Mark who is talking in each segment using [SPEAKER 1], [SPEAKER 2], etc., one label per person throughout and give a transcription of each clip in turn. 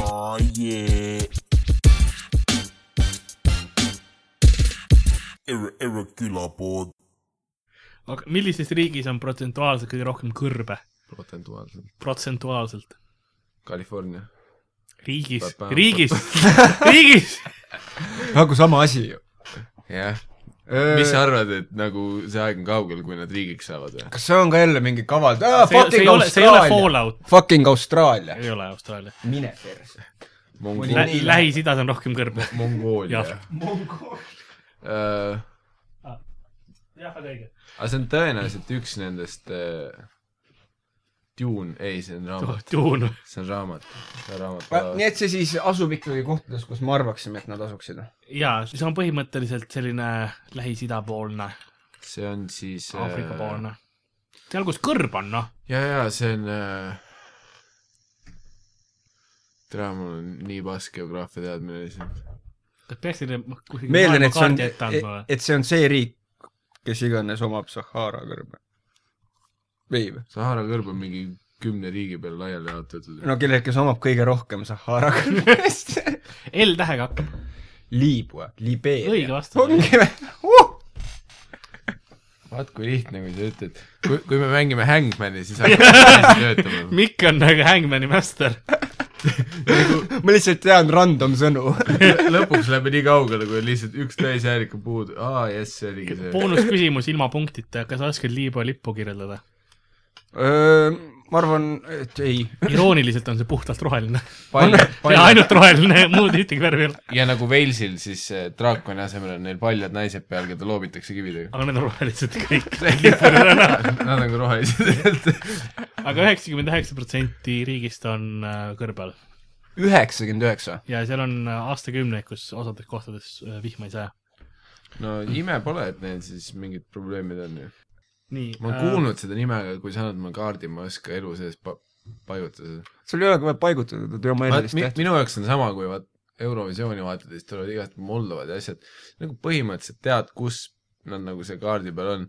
[SPEAKER 1] Oh yeah. Erro , Erro külapood .
[SPEAKER 2] aga millises riigis on protsentuaalselt kõige rohkem kõrbe ?
[SPEAKER 3] protsentuaalselt .
[SPEAKER 2] protsentuaalselt .
[SPEAKER 3] California .
[SPEAKER 2] riigis
[SPEAKER 3] Pa- pa- ,
[SPEAKER 2] riigis , riigis .
[SPEAKER 4] nagu sama asi ju .
[SPEAKER 3] jah . mis sa arvad , et nagu see aeg on kaugel , kui nad riigiks saavad või ?
[SPEAKER 4] kas see on ka jälle mingi kaval ah, ?
[SPEAKER 2] see ei- see ei
[SPEAKER 4] fucking
[SPEAKER 2] ole , see ei ole
[SPEAKER 4] Austraalia .
[SPEAKER 2] Fallout ,
[SPEAKER 4] Fucking Austraalia .
[SPEAKER 2] ei ole Austraalia .
[SPEAKER 4] mine perse .
[SPEAKER 3] Mongoolia
[SPEAKER 4] Lä-
[SPEAKER 2] Lähi , Lähis-Idas on rohkem kõrbe .
[SPEAKER 3] Mongoolia
[SPEAKER 2] Jah. .
[SPEAKER 3] aga
[SPEAKER 2] jah , väga õige .
[SPEAKER 3] see on tõenäoliselt üks nendest äh, Dune , ei , see on raamat ,
[SPEAKER 2] Tuun .
[SPEAKER 3] see on raamat , see on
[SPEAKER 4] nii
[SPEAKER 3] raamat .
[SPEAKER 4] et see siis asub ikkagi kohtades , kus me arvaksime , et nad asuksid .
[SPEAKER 2] jaa , see on põhimõtteliselt selline Lähis-Ida poolne ,
[SPEAKER 3] see on siis äh,
[SPEAKER 2] Aafrika poolne . seal , kus kõrb on , noh .
[SPEAKER 3] ja , ja see on äh... . tere , mul on nii pask geograafia teadmine lihtsalt .
[SPEAKER 2] kas peaks teile kuskil
[SPEAKER 4] meeldin , et see on
[SPEAKER 2] maailmakaardi ette , andma või ?
[SPEAKER 4] et see on see riik , kes iganes omab Sahara kõrbe . või või ?
[SPEAKER 3] Sahara kõrb on mingi kümne riigi peale laiali jaotatud no. .
[SPEAKER 4] no kellel , kes omab kõige rohkem Sahara kõrbest .
[SPEAKER 2] L tähega hakkab .
[SPEAKER 4] Liibua , Libeeria .
[SPEAKER 2] Õige vastus.
[SPEAKER 4] ongi või uh! ?
[SPEAKER 3] vaat kui lihtne , kui sa ütled . kui , kui me mängime Hangmani , siis hakkab hästi töötama .
[SPEAKER 2] Mikk on nagu Hangmani master .
[SPEAKER 4] ma lihtsalt tean random sõnu .
[SPEAKER 3] lõpuks läheme nii kaugele , kui on lihtsalt üks täishäälik on puudu . aa , jess , see oligi see .
[SPEAKER 2] boonusküsimus ilma punktita , kas oskad Liibüa lippu kirjeldada ?
[SPEAKER 4] ma arvan , et ei .
[SPEAKER 2] irooniliselt on see puhtalt roheline .
[SPEAKER 3] palju ,
[SPEAKER 2] ja
[SPEAKER 3] palju .
[SPEAKER 2] ainult roheline , muud ühtegi värvi ei ole .
[SPEAKER 3] ja nagu Walesil , siis äh, draakoni asemel on neil paljad naised peal , keda loobitakse kividega .
[SPEAKER 2] aga need on rohelised kõik .
[SPEAKER 3] Nad on ka rohelised .
[SPEAKER 2] aga üheksakümmend üheksa protsenti riigist on äh, kõrbel
[SPEAKER 4] üheksakümmend üheksa .
[SPEAKER 2] ja seal on äh, aastakümneid , kus osades kohtades äh, vihma ei saja .
[SPEAKER 3] no ime pole , et neil siis mingid probleemid on ju .
[SPEAKER 2] nii
[SPEAKER 3] ma olen . kuulnud seda nime , aga kui sa annad mulle kaardi , ma ei oska elu sees pa- , paiutada seda .
[SPEAKER 4] sul ei ole ka vaja paigutada , ta ei oma erilist
[SPEAKER 3] Mi,
[SPEAKER 4] tähtsust .
[SPEAKER 3] minu jaoks on sama , kui vaat Eurovisiooni vaatad ja siis tulevad igast Moldovad ja asjad , nagu põhimõtteliselt tead , kus nad nagu seal kaardi peal on ,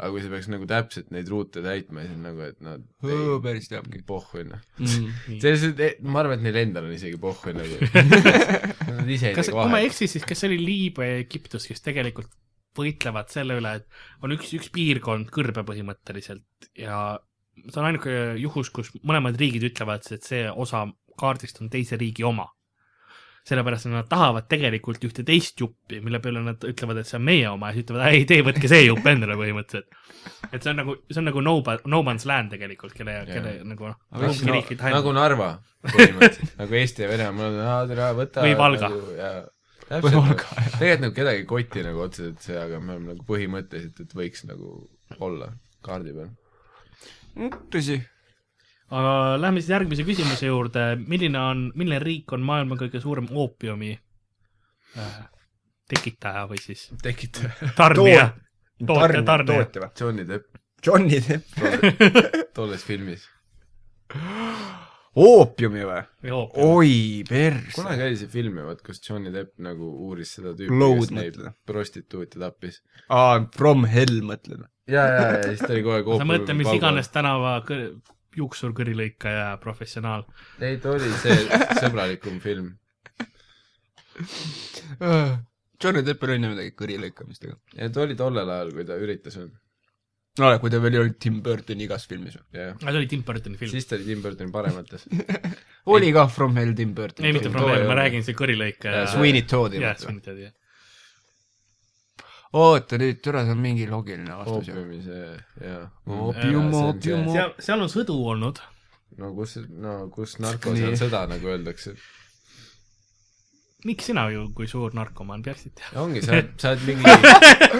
[SPEAKER 3] aga kui sa peaks nagu täpselt neid ruute täitma , siis on nagu , et nad ei-
[SPEAKER 4] päris teabki .
[SPEAKER 3] pohhu onju .
[SPEAKER 2] Mm,
[SPEAKER 3] selles , ma arvan , et neil endal on isegi pohhu nagu . Nad ise ei
[SPEAKER 2] kas ,
[SPEAKER 3] tee
[SPEAKER 2] kui ma ei
[SPEAKER 3] vahet .
[SPEAKER 2] eksi , siis kas see oli Liibüa ja Egiptus , kes tegelikult võitlevad selle üle , et on üks , üks piirkond kõrbe põhimõtteliselt ja see on ainuke juhus , kus mõlemad riigid ütlevad , et see osa kaardist on teise riigi oma . sellepärast , et nad tahavad tegelikult ühte teist juppi , mille peale nad ütlevad , et see on meie oma ja siis ütlevad , ei tee , võtke see jupp endale põhimõtteliselt . et see on nagu , see on nagu no, no man's land tegelikult , kelle , kelle nagu noh ,
[SPEAKER 3] Aga
[SPEAKER 2] kumbki riik ei taha
[SPEAKER 3] nagu . Narva põhimõtteliselt , nagu Eesti ja Venemaa , nad ära võta .
[SPEAKER 2] Või Valga.
[SPEAKER 4] Või
[SPEAKER 3] täpselt ,
[SPEAKER 4] Valga,
[SPEAKER 3] tegelikult nagu kedagi ei koti nagu otseselt see , aga me oleme nagu põhimõtteliselt , et võiks nagu olla kaardi peal .
[SPEAKER 4] Mm, tõsi .
[SPEAKER 2] aga lähme siis järgmise küsimuse juurde , milline on , milline riik on maailma kõige suurem oopiumi äh, tekitaja või siis
[SPEAKER 3] tekitaja .
[SPEAKER 2] tarnija ? tootja ,
[SPEAKER 4] tootja ,
[SPEAKER 2] tarnija .
[SPEAKER 4] tootja või ?
[SPEAKER 3] Johnny Depp
[SPEAKER 4] Johnny Depp .
[SPEAKER 3] tolle- tolles filmis .
[SPEAKER 4] oopiumi või ?
[SPEAKER 2] oopium .
[SPEAKER 4] oi , perse .
[SPEAKER 3] kunagi oli see film ju , vaat kus Johnny Depp nagu uuris seda
[SPEAKER 4] Load
[SPEAKER 3] tüüpi , kes neid
[SPEAKER 4] mõtled.
[SPEAKER 3] prostituute tappis .
[SPEAKER 4] aa , From Hell mõtled või ?
[SPEAKER 3] ja , ja , ja siis ta oli kogu aeg
[SPEAKER 2] sa mõtle , mis iganes . tänava kõ- juuksurkõrilõikaja professionaal .
[SPEAKER 3] ei , ta oli see sõbralikum film .
[SPEAKER 4] Äh. Johnny Deppil on ju midagi kõrilõikamistega .
[SPEAKER 3] ja ta oli tollel ajal , kui ta üritas ,
[SPEAKER 4] no kui ta veel ei olnud Tim Burtoni igas filmis või ?
[SPEAKER 3] jah .
[SPEAKER 2] see oli Tim Burtoni film .
[SPEAKER 3] siis ta oli Tim Burtoni paremates .
[SPEAKER 4] oli kah From Hell Tim Burton
[SPEAKER 2] ei , mitte
[SPEAKER 3] too ei
[SPEAKER 2] probleem , ma
[SPEAKER 3] ole.
[SPEAKER 2] räägin , see kõrilõikaja
[SPEAKER 3] Jaa, .
[SPEAKER 4] Sweeney Toodi
[SPEAKER 2] jah ,
[SPEAKER 4] mõtled või ?
[SPEAKER 2] Sweeney Todd , jah .
[SPEAKER 4] oota nüüd , tule , see on mingi loogiline vastus ju .
[SPEAKER 3] oopiumise , Äh, jaa .
[SPEAKER 4] Oopium, oopium,
[SPEAKER 2] seal , seal on sõdu olnud .
[SPEAKER 3] no kus , no kus narkos
[SPEAKER 4] Nii.
[SPEAKER 3] on sõda , nagu öeldakse .
[SPEAKER 2] miks sina ju , kui suur narkomaan peaksid teadma ?
[SPEAKER 3] ongi , sa oled , sa oled mingi ,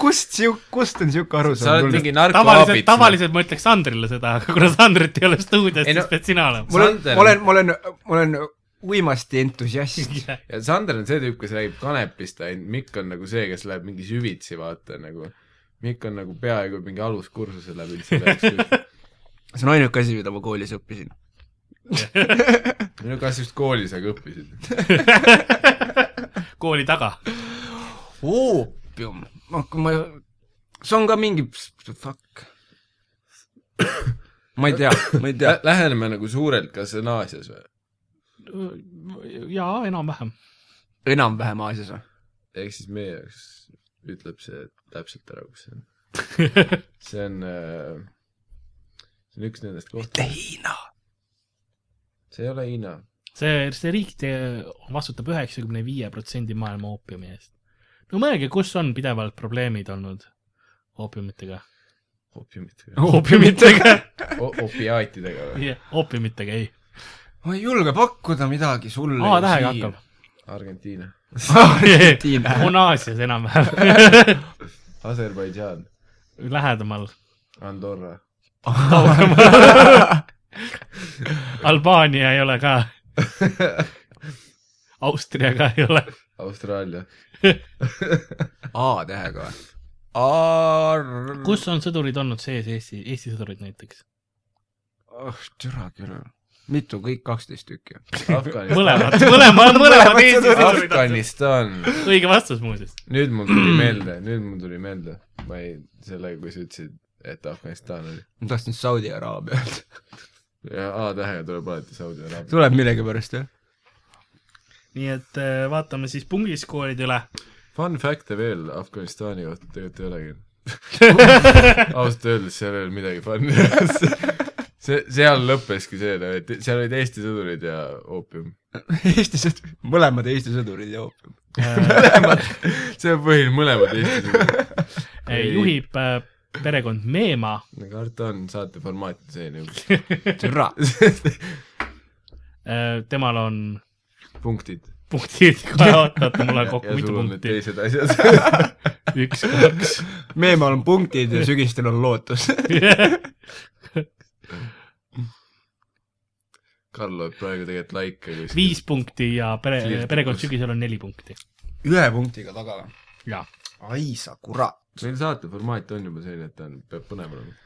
[SPEAKER 4] kust siuk- , kust on siuke
[SPEAKER 3] sa
[SPEAKER 4] arusaam
[SPEAKER 3] oled
[SPEAKER 4] tulnud ?
[SPEAKER 3] mingi narkoaabits
[SPEAKER 2] tavaliselt ,. tavaliselt ma ütleks Sandrile seda , aga kuna Sandrit ei ole stuudios ,
[SPEAKER 3] Ei no-
[SPEAKER 2] siis pead sina olema .
[SPEAKER 4] ma olen ,
[SPEAKER 3] Sander-
[SPEAKER 4] ma olen , ma olen , ma olen uimasti entusiast .
[SPEAKER 3] ja Sander on see tüüp , kes räägib kanepist ainult , Mikk on nagu see , kes läheb mingi süvitsi , vaata nagu . Mikk on nagu peaaegu mingi aluskursuse läbi üldse läks .
[SPEAKER 4] see on ainuke asi , mida ma koolis õppisin .
[SPEAKER 3] minu käest just koolis aga õppisid .
[SPEAKER 2] kooli taga .
[SPEAKER 4] oopium , noh , kui ma , see on ka mingi , fuck . ma ei tea , ma ei tea .
[SPEAKER 3] Läheneme nagu suurelt , kas see on Aasias või ?
[SPEAKER 2] jaa , enam-vähem .
[SPEAKER 4] enam-vähem Aasias või ?
[SPEAKER 3] ehk siis meie jaoks ütleb see täpselt ära , kus see on . see on , see on üks nendest kohtadest ,
[SPEAKER 4] Hiina .
[SPEAKER 3] see ei ole Hiina .
[SPEAKER 2] see , see riik te- vastutab üheksakümne viie protsendi maailma oopiumi eest . no mõelge , kus on pidevalt probleemid olnud oopiumitega .
[SPEAKER 3] opiumitega ,
[SPEAKER 2] oopiumitega ?
[SPEAKER 3] opiaatidega või ?
[SPEAKER 2] oopiumitega , ei .
[SPEAKER 4] ma ei julge pakkuda midagi sulle .
[SPEAKER 2] A-tähega hakkab .
[SPEAKER 3] Argentiina ,
[SPEAKER 4] Argentiina .
[SPEAKER 2] on Aasias enam-vähem .
[SPEAKER 3] Aserbaidžaan ,
[SPEAKER 2] lähedamal ,
[SPEAKER 3] Andorra ,
[SPEAKER 2] kaugemal . Albaania ei ole ka . Austria ka ei ole .
[SPEAKER 3] Austraalia ,
[SPEAKER 4] A-tähega või ? Ar- .
[SPEAKER 2] kus on sõdurid olnud sees , Eesti , Eesti sõdurid näiteks ?
[SPEAKER 4] oh, ? türa küll . mitu , kõik kaksteist tükki .
[SPEAKER 3] Afganistan ,
[SPEAKER 2] mõlemad , mõlemad , mõlemad Eesti sõdurid on sees .
[SPEAKER 3] Afganistan .
[SPEAKER 2] õige vastus muuseas .
[SPEAKER 3] nüüd mul tuli meelde , nüüd mul tuli meelde , ma ei , sellega , kui sa ütlesid , et Afganistan oli .
[SPEAKER 4] ma tahtsin Saudi Araabia öelda .
[SPEAKER 3] A-tähega tuleb alati Saudi Araabia .
[SPEAKER 4] tuleb millegipärast jah ?
[SPEAKER 2] nii et äh, vaatame siis pungiskoolid üle .
[SPEAKER 3] Fun fact'e veel Afganistani kohta tegelikult ei olegi . ausalt öeldes seal ei olnud midagi fun'i . see , seal lõppeski see , et seal olid Eesti sõdurid ja oopium .
[SPEAKER 4] Eesti sõdurid , mõlemad Eesti sõdurid ja oopium .
[SPEAKER 2] Äh,
[SPEAKER 3] see on põhiline , mõlemad Eesti sõdurid .
[SPEAKER 2] juhib äh, perekond Meema ,
[SPEAKER 3] karta on saate formaat see nagu
[SPEAKER 4] türa .
[SPEAKER 2] Äh, temal on
[SPEAKER 3] punktid .
[SPEAKER 2] punktid , kohe oota , mul on kokku
[SPEAKER 3] ja
[SPEAKER 2] mitu
[SPEAKER 3] sul on need
[SPEAKER 2] punkti ,
[SPEAKER 3] teised asjad .
[SPEAKER 2] üks , kaks ,
[SPEAKER 4] meemal on punktid ja sügistel on lootus .
[SPEAKER 3] Karl loeb praegu tegelikult laike kuskil .
[SPEAKER 2] viis punkti ja pere ,
[SPEAKER 3] Flirtikus.
[SPEAKER 2] perekond sügisel on neli punkti .
[SPEAKER 4] ühe punktiga taga või ?
[SPEAKER 2] jaa ,
[SPEAKER 4] ai sa kurat .
[SPEAKER 3] meil saate formaat on juba selline , et ta on , peab põnev olema .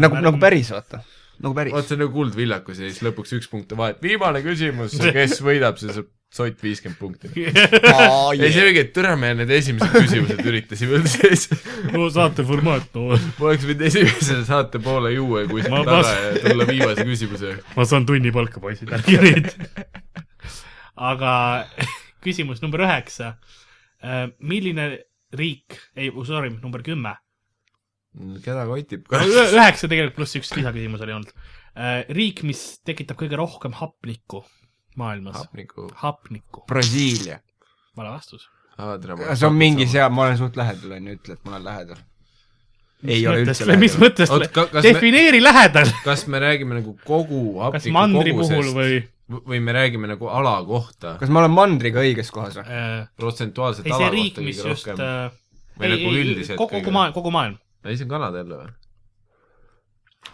[SPEAKER 4] nagu , nagu . päris vaata . nagu
[SPEAKER 3] vaat
[SPEAKER 4] päris .
[SPEAKER 3] see on nagu kuldvillakus ja siis lõpuks üks punkt on vahet . viimane küsimus , kes võidab , see saab sott viiskümmend punkti . ei , see oligi , et tere , me need esimesed küsimused üritasime üldse siis .
[SPEAKER 2] no saate formaat , no
[SPEAKER 3] ma oleks võinud esimese saate poole juua ja
[SPEAKER 2] Ma-
[SPEAKER 3] kuskilt
[SPEAKER 2] ma-
[SPEAKER 3] taga ja tulla viimase küsimuse .
[SPEAKER 2] ma saan tunni palka , poisid , ärge nüüd . aga küsimus number üheksa . milline riik , ei , sorry , number kümme .
[SPEAKER 3] keda kotib ?
[SPEAKER 2] üheksa tegelikult pluss üks lisaküsimus oli olnud . riik , mis tekitab kõige rohkem hapnikku maailmas .
[SPEAKER 3] hapniku
[SPEAKER 2] hapnikku ,
[SPEAKER 4] Brasiilia .
[SPEAKER 2] vale vastus .
[SPEAKER 3] aadrama .
[SPEAKER 4] see on mingi . seal , ma olen suht lähedal , on ju , ütle , et ma olen lähedal . ei ole üldse
[SPEAKER 2] mis
[SPEAKER 4] lähedal .
[SPEAKER 2] mõttes
[SPEAKER 3] oot , kas me ,
[SPEAKER 2] defineeri lähedal ,
[SPEAKER 3] kas me räägime nagu kogu
[SPEAKER 2] kas
[SPEAKER 3] hapniku
[SPEAKER 2] mandri puhul
[SPEAKER 3] kogusest
[SPEAKER 2] või
[SPEAKER 3] või me räägime nagu ala kohta ,
[SPEAKER 4] kas ma olen mandriga õiges kohas või ?
[SPEAKER 2] äh, ?
[SPEAKER 3] protsentuaalselt
[SPEAKER 2] ei ,
[SPEAKER 3] ala
[SPEAKER 2] see riik ,
[SPEAKER 3] kohta
[SPEAKER 2] mis
[SPEAKER 3] kõige
[SPEAKER 2] just
[SPEAKER 3] rohkem ?
[SPEAKER 2] äh,
[SPEAKER 3] Või
[SPEAKER 2] ei ,
[SPEAKER 3] nagu
[SPEAKER 2] ei ,
[SPEAKER 3] üldiselt
[SPEAKER 2] kogu ,
[SPEAKER 3] kõige
[SPEAKER 2] kogu maailm , kogu maailm .
[SPEAKER 3] ei , see on Kanada jälle või ?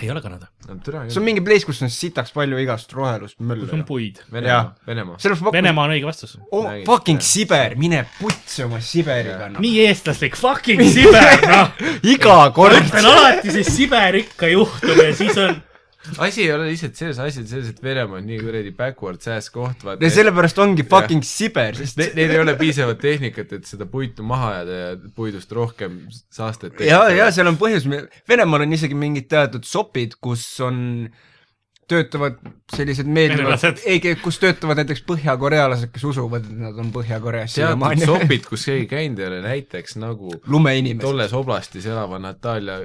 [SPEAKER 2] ei ole Kanada ,
[SPEAKER 3] no türa
[SPEAKER 4] see on
[SPEAKER 3] küll .
[SPEAKER 4] mingi place , kus on sitaks palju igast rohelust
[SPEAKER 2] kus on
[SPEAKER 4] möllu .
[SPEAKER 2] puid .
[SPEAKER 3] Venemaa , Venemaa .
[SPEAKER 4] sellepärast ma pakun ,
[SPEAKER 2] Venemaa on õige vastus
[SPEAKER 4] oh
[SPEAKER 3] Nägid,
[SPEAKER 4] fucking
[SPEAKER 3] jah.
[SPEAKER 4] Siber , mine putsi oma Siberiga noh .
[SPEAKER 2] nii eestlaslik fucking Siber , noh .
[SPEAKER 4] iga kord
[SPEAKER 2] meil alati see Siber ikka juhtub ja siis on ,
[SPEAKER 3] asi ei ole lihtsalt selles , asi on selles , et Venemaa on nii kuradi backwards ass koht , vaata
[SPEAKER 4] ja . sellepärast ongi fucking Siber , sest
[SPEAKER 3] Ne- Neil ei ole piisavalt tehnikat , et seda puitu maha ajada ja puidust rohkem saastet
[SPEAKER 4] ja , ja seal on põhjus , Venemaal on isegi mingid teatud sopid , kus on , töötavad sellised meeldivad
[SPEAKER 2] Venelased. ,
[SPEAKER 4] ei , kus töötavad näiteks põhjakorealased , kes usuvad , et nad on Põhja-Koreas
[SPEAKER 3] teatud
[SPEAKER 4] siiamaani .
[SPEAKER 3] sopid , kus keegi käinud ei ole , näiteks nagu
[SPEAKER 4] lumeinimesed .
[SPEAKER 3] tolles oblastis elava Natalja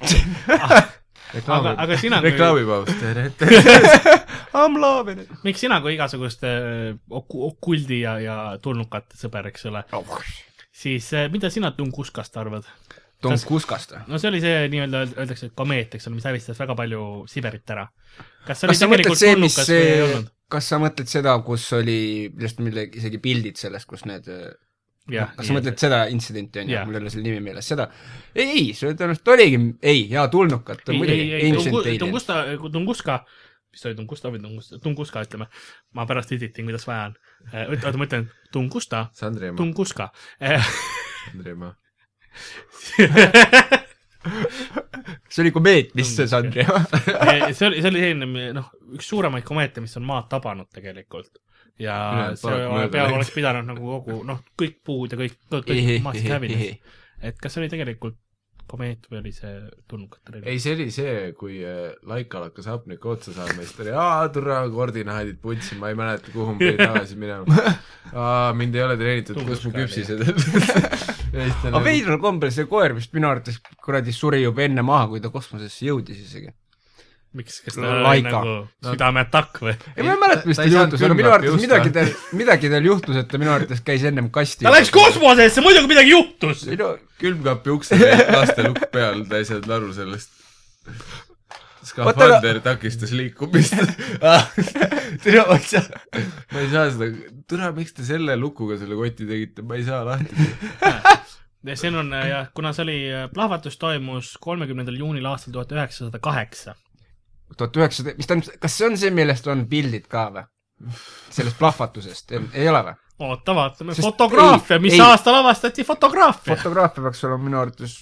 [SPEAKER 2] aga ,
[SPEAKER 3] reklaami ,
[SPEAKER 2] aga sina kui ,
[SPEAKER 3] reklaamipaus , tere ,
[SPEAKER 2] miks sina kui igasuguste äh, oku- , okuldi ja , ja tulnukate sõber , eks ole , siis eh, mida sina Tunguskast arvad ?
[SPEAKER 4] Tom
[SPEAKER 2] Kas-
[SPEAKER 4] Kuskast või ?
[SPEAKER 2] no see oli see nii-öelda , öeldakse , et komeet , eks ole , mis hävistas väga palju Siberit ära . kas see oli
[SPEAKER 4] kas sa mõtled
[SPEAKER 2] tegelikult
[SPEAKER 4] see , mis
[SPEAKER 2] tulnukas või ei
[SPEAKER 4] see
[SPEAKER 2] olnud ?,
[SPEAKER 4] kas sa mõtled seda , kus oli , millest mille , isegi pildid sellest , kus need äh, noh,
[SPEAKER 2] jah ,
[SPEAKER 4] kas sa mõtled ? seda intsidenti , on ju
[SPEAKER 2] Jah. ,
[SPEAKER 4] mul ei ole selle nimi meeles , seda , ei , ei , see tõenäoliselt oligi , ei , jaa , tulnukad ,
[SPEAKER 2] ei , ei ,
[SPEAKER 4] muidugi ,
[SPEAKER 2] ei ,
[SPEAKER 4] ancient alien .
[SPEAKER 2] Tungusta , Tunguska , mis ta oli , Tungusta või Tunguska , Tunguska ütleme , ma pärast editin , kuidas vaja on . oota , ma ütlen Tungusta ,
[SPEAKER 3] Sandrimaa ,
[SPEAKER 2] Tunguska . Äh,
[SPEAKER 3] Sandrimaa .
[SPEAKER 4] see oli komeet , mis see Sandri
[SPEAKER 2] Eh, see oli , see oli selline noh , üks suuremaid komeete , mis on maad tabanud tegelikult . ja
[SPEAKER 3] Ülejäänud
[SPEAKER 2] see
[SPEAKER 3] paraku mööda
[SPEAKER 2] peal
[SPEAKER 3] läinud.
[SPEAKER 2] oleks pidanud nagu kogu noh , kõik puud ja kõik , kõik, kõik maast hävinud .
[SPEAKER 4] ei ,
[SPEAKER 2] et kas see oli tegelikult Komeet või oli see tulnukate relv ?
[SPEAKER 3] ei , see oli see , kui äh, Laikal hakkas hapnikku otsa saama , siis ta oli aa , tore , koordinaadid putsi , ma ei mäleta , kuhu ma pidin tagasi minema . aa , mind ei ole treenitud , kus mu küpsised on .
[SPEAKER 4] aga
[SPEAKER 3] nagu-
[SPEAKER 4] veidral kombel see koer vist minu arvates kuradi suri juba enne maha , kui ta kosmosesse jõudis isegi .
[SPEAKER 2] miks , kas ta oli
[SPEAKER 4] Laika.
[SPEAKER 2] nagu südameatakk või ?
[SPEAKER 4] ei , ma ei mäleta , mis
[SPEAKER 3] Ta
[SPEAKER 4] tal
[SPEAKER 3] ei saanud
[SPEAKER 4] juhtus , aga minu
[SPEAKER 3] külmkapi
[SPEAKER 4] arvates
[SPEAKER 3] usta.
[SPEAKER 4] midagi tal , midagi tal juhtus , et ta minu arvates käis ennem kasti .
[SPEAKER 2] ta läks kosmosesse , muidugi midagi juhtus .
[SPEAKER 4] minu ,
[SPEAKER 3] külmkapi ukse laste lukk peal , ta ei saanud aru sellest . skafander takistas liikumist .
[SPEAKER 4] minu otsa .
[SPEAKER 3] ma ei saa seda , tule , miks te selle lukuga selle koti tegite , ma ei saa lahti .
[SPEAKER 2] see on äh, jah , kuna see oli , plahvatus toimus kolmekümnendal juunil aastal tuhat üheksasada kaheksa .
[SPEAKER 4] tuhat üheksasada , mis ta on , kas see on see , millest on pildid ka või ? sellest plahvatusest , ei ole või ?
[SPEAKER 2] oota , vaatame
[SPEAKER 4] Sest-
[SPEAKER 2] fotograafia ,
[SPEAKER 4] ei,
[SPEAKER 2] mis
[SPEAKER 4] ei.
[SPEAKER 2] aastal avastati fotograafia ?
[SPEAKER 4] fotograafia peaks olema minu arvates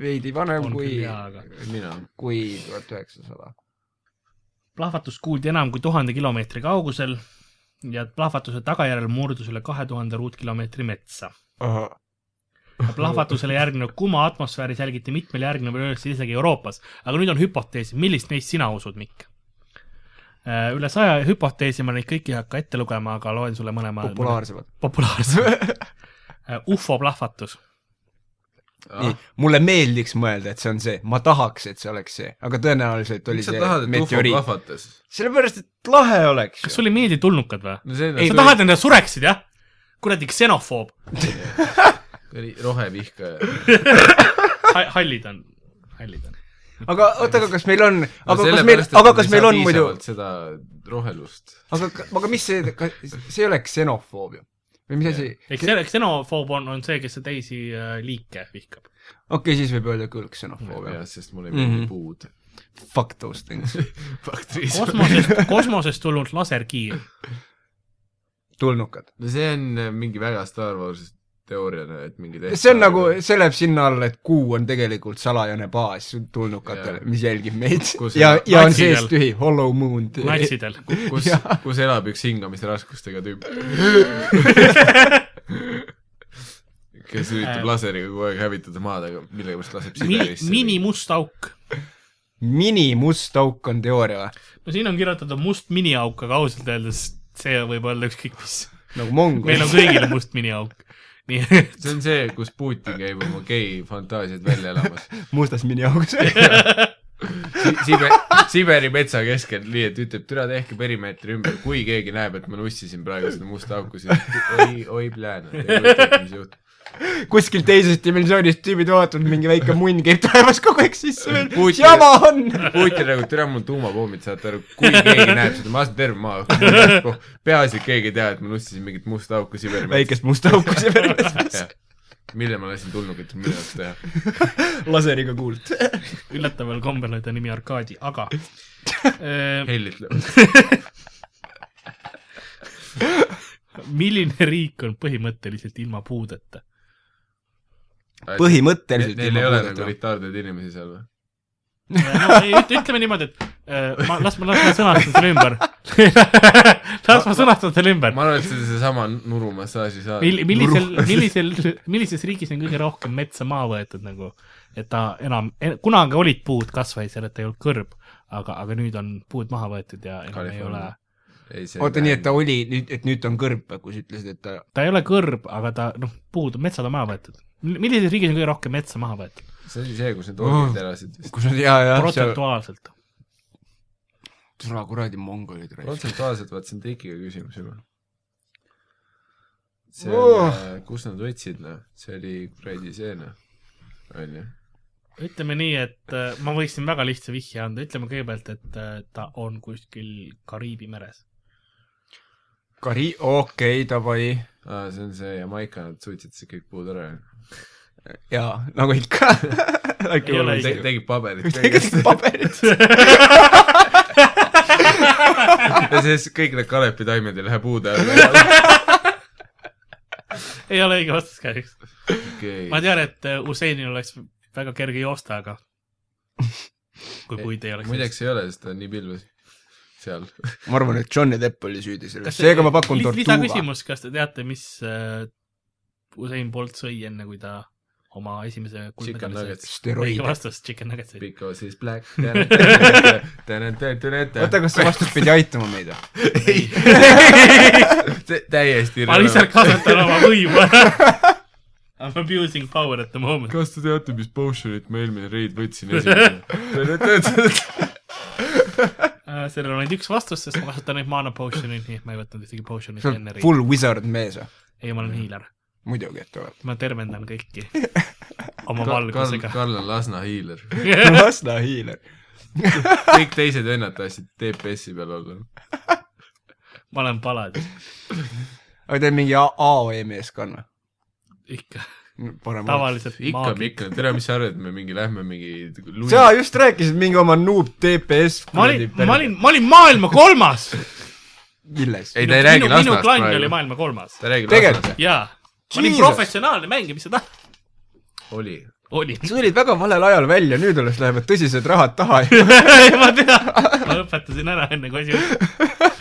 [SPEAKER 4] veidi vanem
[SPEAKER 2] On
[SPEAKER 4] kui
[SPEAKER 2] küll jaa, , aga-
[SPEAKER 3] mina .
[SPEAKER 4] kui tuhat üheksasada .
[SPEAKER 2] plahvatust kuuldi enam kui tuhande kilomeetri kaugusel ja plahvatuse tagajärjel murdus üle kahe tuhande ruutkilomeetri metsa . plahvatusele järgnenud kuma atmosfääri selgiti mitmel järgneval öösel isegi Euroopas , aga nüüd on hüpotees , millist neist sina usud , Mikk ? üle saja hüpoteesi ma neid kõiki ei hakka ette lugema , aga loen sulle mõne ma-
[SPEAKER 4] populaarsemad .
[SPEAKER 2] populaarse . ufo plahvatus ,
[SPEAKER 3] Ah,
[SPEAKER 4] nii , mulle meeldiks mõelda , et see on see , ma tahaks , et see oleks see , aga tõenäoliselt oli
[SPEAKER 3] miks sa
[SPEAKER 4] see
[SPEAKER 3] tahad , et ufo
[SPEAKER 4] meteoriit .
[SPEAKER 3] plahvatas ?
[SPEAKER 4] sellepärast , et lahe oleks
[SPEAKER 2] kas
[SPEAKER 4] ju .
[SPEAKER 2] sulle ei meeldi tulnukad või ?
[SPEAKER 3] no see
[SPEAKER 2] ei , sa tahad , et nad sureksid , jah ? kuradi ksenofoob ,
[SPEAKER 3] oli rohevihkaja .
[SPEAKER 2] hallid on , hallid on .
[SPEAKER 4] aga oota , aga kas meil on , aga kas meil ,
[SPEAKER 3] sellepärast, et
[SPEAKER 4] aga
[SPEAKER 3] nad
[SPEAKER 4] kas
[SPEAKER 3] ei
[SPEAKER 4] meil
[SPEAKER 3] saa
[SPEAKER 4] on muidu ,
[SPEAKER 3] piisavalt seda rohelust .
[SPEAKER 4] aga , aga mis see , see ei ole ksenofoob ju ? või mis asi ?
[SPEAKER 2] eks see , ksenofoob on , on see , kes teisi äh, liike vihkab .
[SPEAKER 4] okei , siis võib öelda küll ksenofoob
[SPEAKER 3] jah
[SPEAKER 4] jah .,
[SPEAKER 3] sest mul ei meeldi
[SPEAKER 4] Mhm.
[SPEAKER 3] puud .
[SPEAKER 4] Fuck those things .
[SPEAKER 3] bakteris .
[SPEAKER 2] kosmosest , kosmosest tulnud laserkiir ,
[SPEAKER 4] tulnukad .
[SPEAKER 3] no see on mingi väga Star Warsi teooria , et mingi
[SPEAKER 4] see on nagu , see läheb sinna alla , et kuu on tegelikult salajane baas tulnukatele ,
[SPEAKER 3] Jaa.
[SPEAKER 4] mis jälgib meid
[SPEAKER 3] Kus
[SPEAKER 4] ja
[SPEAKER 3] on- ,
[SPEAKER 4] ja on
[SPEAKER 2] natsidel.
[SPEAKER 4] sees tühi hollow moon .
[SPEAKER 2] natsidel .
[SPEAKER 3] kus
[SPEAKER 4] Jaa. ,
[SPEAKER 3] kus elab üks hingamisraskustega tüüp , kes üritab laseriga kogu aeg hävitada maad , aga millegipärast laseb
[SPEAKER 2] Äh. mini ,
[SPEAKER 3] Siberisse .
[SPEAKER 2] mini must auk .
[SPEAKER 4] mini must auk on teooria või ?
[SPEAKER 2] no siin on kirjutatud must miniauk , aga ausalt öeldes see võib olla ükskõik mis . meil
[SPEAKER 4] nagu
[SPEAKER 2] on
[SPEAKER 4] Mongolis .
[SPEAKER 2] kõigil must miniauk . nii et
[SPEAKER 3] see on see , kus Putin käib oma gei fantaasiaid välja elamas
[SPEAKER 4] mustas miniaugus .
[SPEAKER 3] si . Siber , Siberi metsa keskel , nii et ütleb , türa tehke perimeetri ümber , kui keegi näeb , et ma nussisin praegu seda musta auku , siis oi , oi plään , ei kujuta , mis juhtub .
[SPEAKER 4] kuskil teises dimensioonis tüübid vaatavad , mingi väike munn käib taevas kogu aeg sisse veel .
[SPEAKER 3] Putin-
[SPEAKER 4] jama on .
[SPEAKER 3] Putin nagu , türa mul on tuumapommid , saate aru , kui keegi näeb seda , ma lasen terve maa õhku . peaasi , et keegi ei tea , et ma nussisin mingit musta auku Siberi metsa .
[SPEAKER 4] väikest musta auku siin veel .
[SPEAKER 3] mille ma lasin tulnukit minu jaoks teha .
[SPEAKER 4] laseriga kuult .
[SPEAKER 2] üllataval kombel oli ta nimi Arkadi , aga äh,
[SPEAKER 3] hellitleb .
[SPEAKER 2] milline riik on põhimõtteliselt ilma puudeta ?
[SPEAKER 4] põhimõtteliselt .
[SPEAKER 3] Neil ei ole nagu . retardeid inimesi seal või ?
[SPEAKER 2] no ei, üt- ütleme niimoodi , et äh, ma , las ma , las ma sõnastan selle ümber . las ma sõnastan selle ümber .
[SPEAKER 3] ma arvan , et see on seesama nurumassaaži saal .
[SPEAKER 2] mil- , millisel , millisel , millises riigis on kõige rohkem metsa maha võetud nagu , et ta enam , kunagi olid puud , kasvasid seal , et ta ei olnud kõrb , aga , aga nüüd on puud maha võetud ja enam ei ole ,
[SPEAKER 3] California.
[SPEAKER 4] oota , nii et ta oli nüüd , et nüüd ta on kõrb , kui sa ütlesid , et ta
[SPEAKER 2] ta ei ole kõrb , aga ta , noh , puud , metsad on maha võetud . millises riigis on kõige rohkem metsa maha võetud ?
[SPEAKER 3] see oli see , kus need orgid elasid vist .
[SPEAKER 4] kus on ja , ja seal ,
[SPEAKER 2] protsentuaalselt .
[SPEAKER 4] türa kuradi mongolid raisk .
[SPEAKER 3] protsentuaalselt , vaat see on trikiga küsimus juba . see
[SPEAKER 4] Oh.
[SPEAKER 3] oh. , kus nad võtsid , noh , see oli kuradi see , noh , onju .
[SPEAKER 2] ütleme nii , et äh, ma võiksin väga lihtsa vihje anda , ütleme kõigepealt , et äh, ta on kuskil Kariibi meres .
[SPEAKER 4] Kari- , okei , davai .
[SPEAKER 3] aa , see on see Jamaica , nad suitsetasid kõik puud ära .
[SPEAKER 4] jaa , nagu ikka .
[SPEAKER 2] Ei ole
[SPEAKER 3] Te- ,
[SPEAKER 2] isegi-
[SPEAKER 3] tegid paberit kõigest
[SPEAKER 4] tegelikult paberit .
[SPEAKER 3] ja siis kõik need Kanepi taimed ei lähe puude alla .
[SPEAKER 2] ei ole õige vastus kahjuks .
[SPEAKER 3] okei
[SPEAKER 2] ma tean , et äh, Useinil oleks väga kerge joosta , aga kui puid ei oleks .
[SPEAKER 3] muideks ei ole , sest ta on nii pilves seal .
[SPEAKER 4] ma arvan , et Johnny Depp oli süüdi selles , seega ma pakun
[SPEAKER 2] tortuuga .
[SPEAKER 4] tortuuga .
[SPEAKER 2] lisaküsimus , kas te teate , mis äh, Usein Bolt sõi enne , kui ta oma esimese
[SPEAKER 3] Chicken
[SPEAKER 2] kuldmedali .
[SPEAKER 3] nuggets .
[SPEAKER 2] õige
[SPEAKER 4] steroide .
[SPEAKER 2] vastus , chicken nuggetsid .
[SPEAKER 3] Because it's black .
[SPEAKER 4] oota ,
[SPEAKER 3] oota ,
[SPEAKER 4] kas see vastus pidi aitama meid või ?
[SPEAKER 3] täiesti
[SPEAKER 2] ma lihtsalt
[SPEAKER 3] irrelevant .
[SPEAKER 2] kasutan oma võimu ära . I m abusing power at the moment .
[SPEAKER 3] kas te teate , mis potion'it ma eelmine reid võtsin esimesena ?
[SPEAKER 2] Äh, sellel on ainult üks vastus , sest ma kasutan neid mana potion'i , nii et ma ei võtnud ühtegi potion'it
[SPEAKER 4] sa oled
[SPEAKER 2] enne riiki .
[SPEAKER 4] full wizard mees või ?
[SPEAKER 2] ei , ma olen hiiler .
[SPEAKER 4] muidugi , et oled .
[SPEAKER 2] ma tervendan kõiki oma
[SPEAKER 3] Karl ,
[SPEAKER 2] valgusega .
[SPEAKER 3] Karl on Lasna hiiler .
[SPEAKER 4] Lasna hiiler .
[SPEAKER 3] kõik teised vennad tahtsid DPS-i peal olla .
[SPEAKER 2] ma olen paladin ,
[SPEAKER 4] aga teil mingi A- AOE meeskond või ?
[SPEAKER 2] ikka .
[SPEAKER 4] parem oleks .
[SPEAKER 2] tavaliselt
[SPEAKER 3] ikka ,
[SPEAKER 2] maagid .
[SPEAKER 3] Mikkel , tere , mis sa arvad , me mingi lähme mingi lund-
[SPEAKER 4] sa just rääkisid mingi oma noob TPS .
[SPEAKER 2] ma olin , ma olin , ma olin maailma kolmas .
[SPEAKER 4] milles ?
[SPEAKER 3] ei , ta ei räägi
[SPEAKER 2] minu
[SPEAKER 3] Lasnast
[SPEAKER 2] klann oli
[SPEAKER 3] praegu .
[SPEAKER 2] maailma kolmas .
[SPEAKER 3] ta räägib
[SPEAKER 4] Tegelikult.
[SPEAKER 3] Lasnast .
[SPEAKER 2] jaa . ma olin
[SPEAKER 4] Jesus.
[SPEAKER 2] professionaalne mängija , mis sa tahad ?
[SPEAKER 3] oli .
[SPEAKER 2] olin .
[SPEAKER 4] sa tulid väga valel ajal välja , nüüd alles lähevad tõsised rahad taha ja
[SPEAKER 2] ma tean , ma lõpetasin ära enne kui asi juhtus .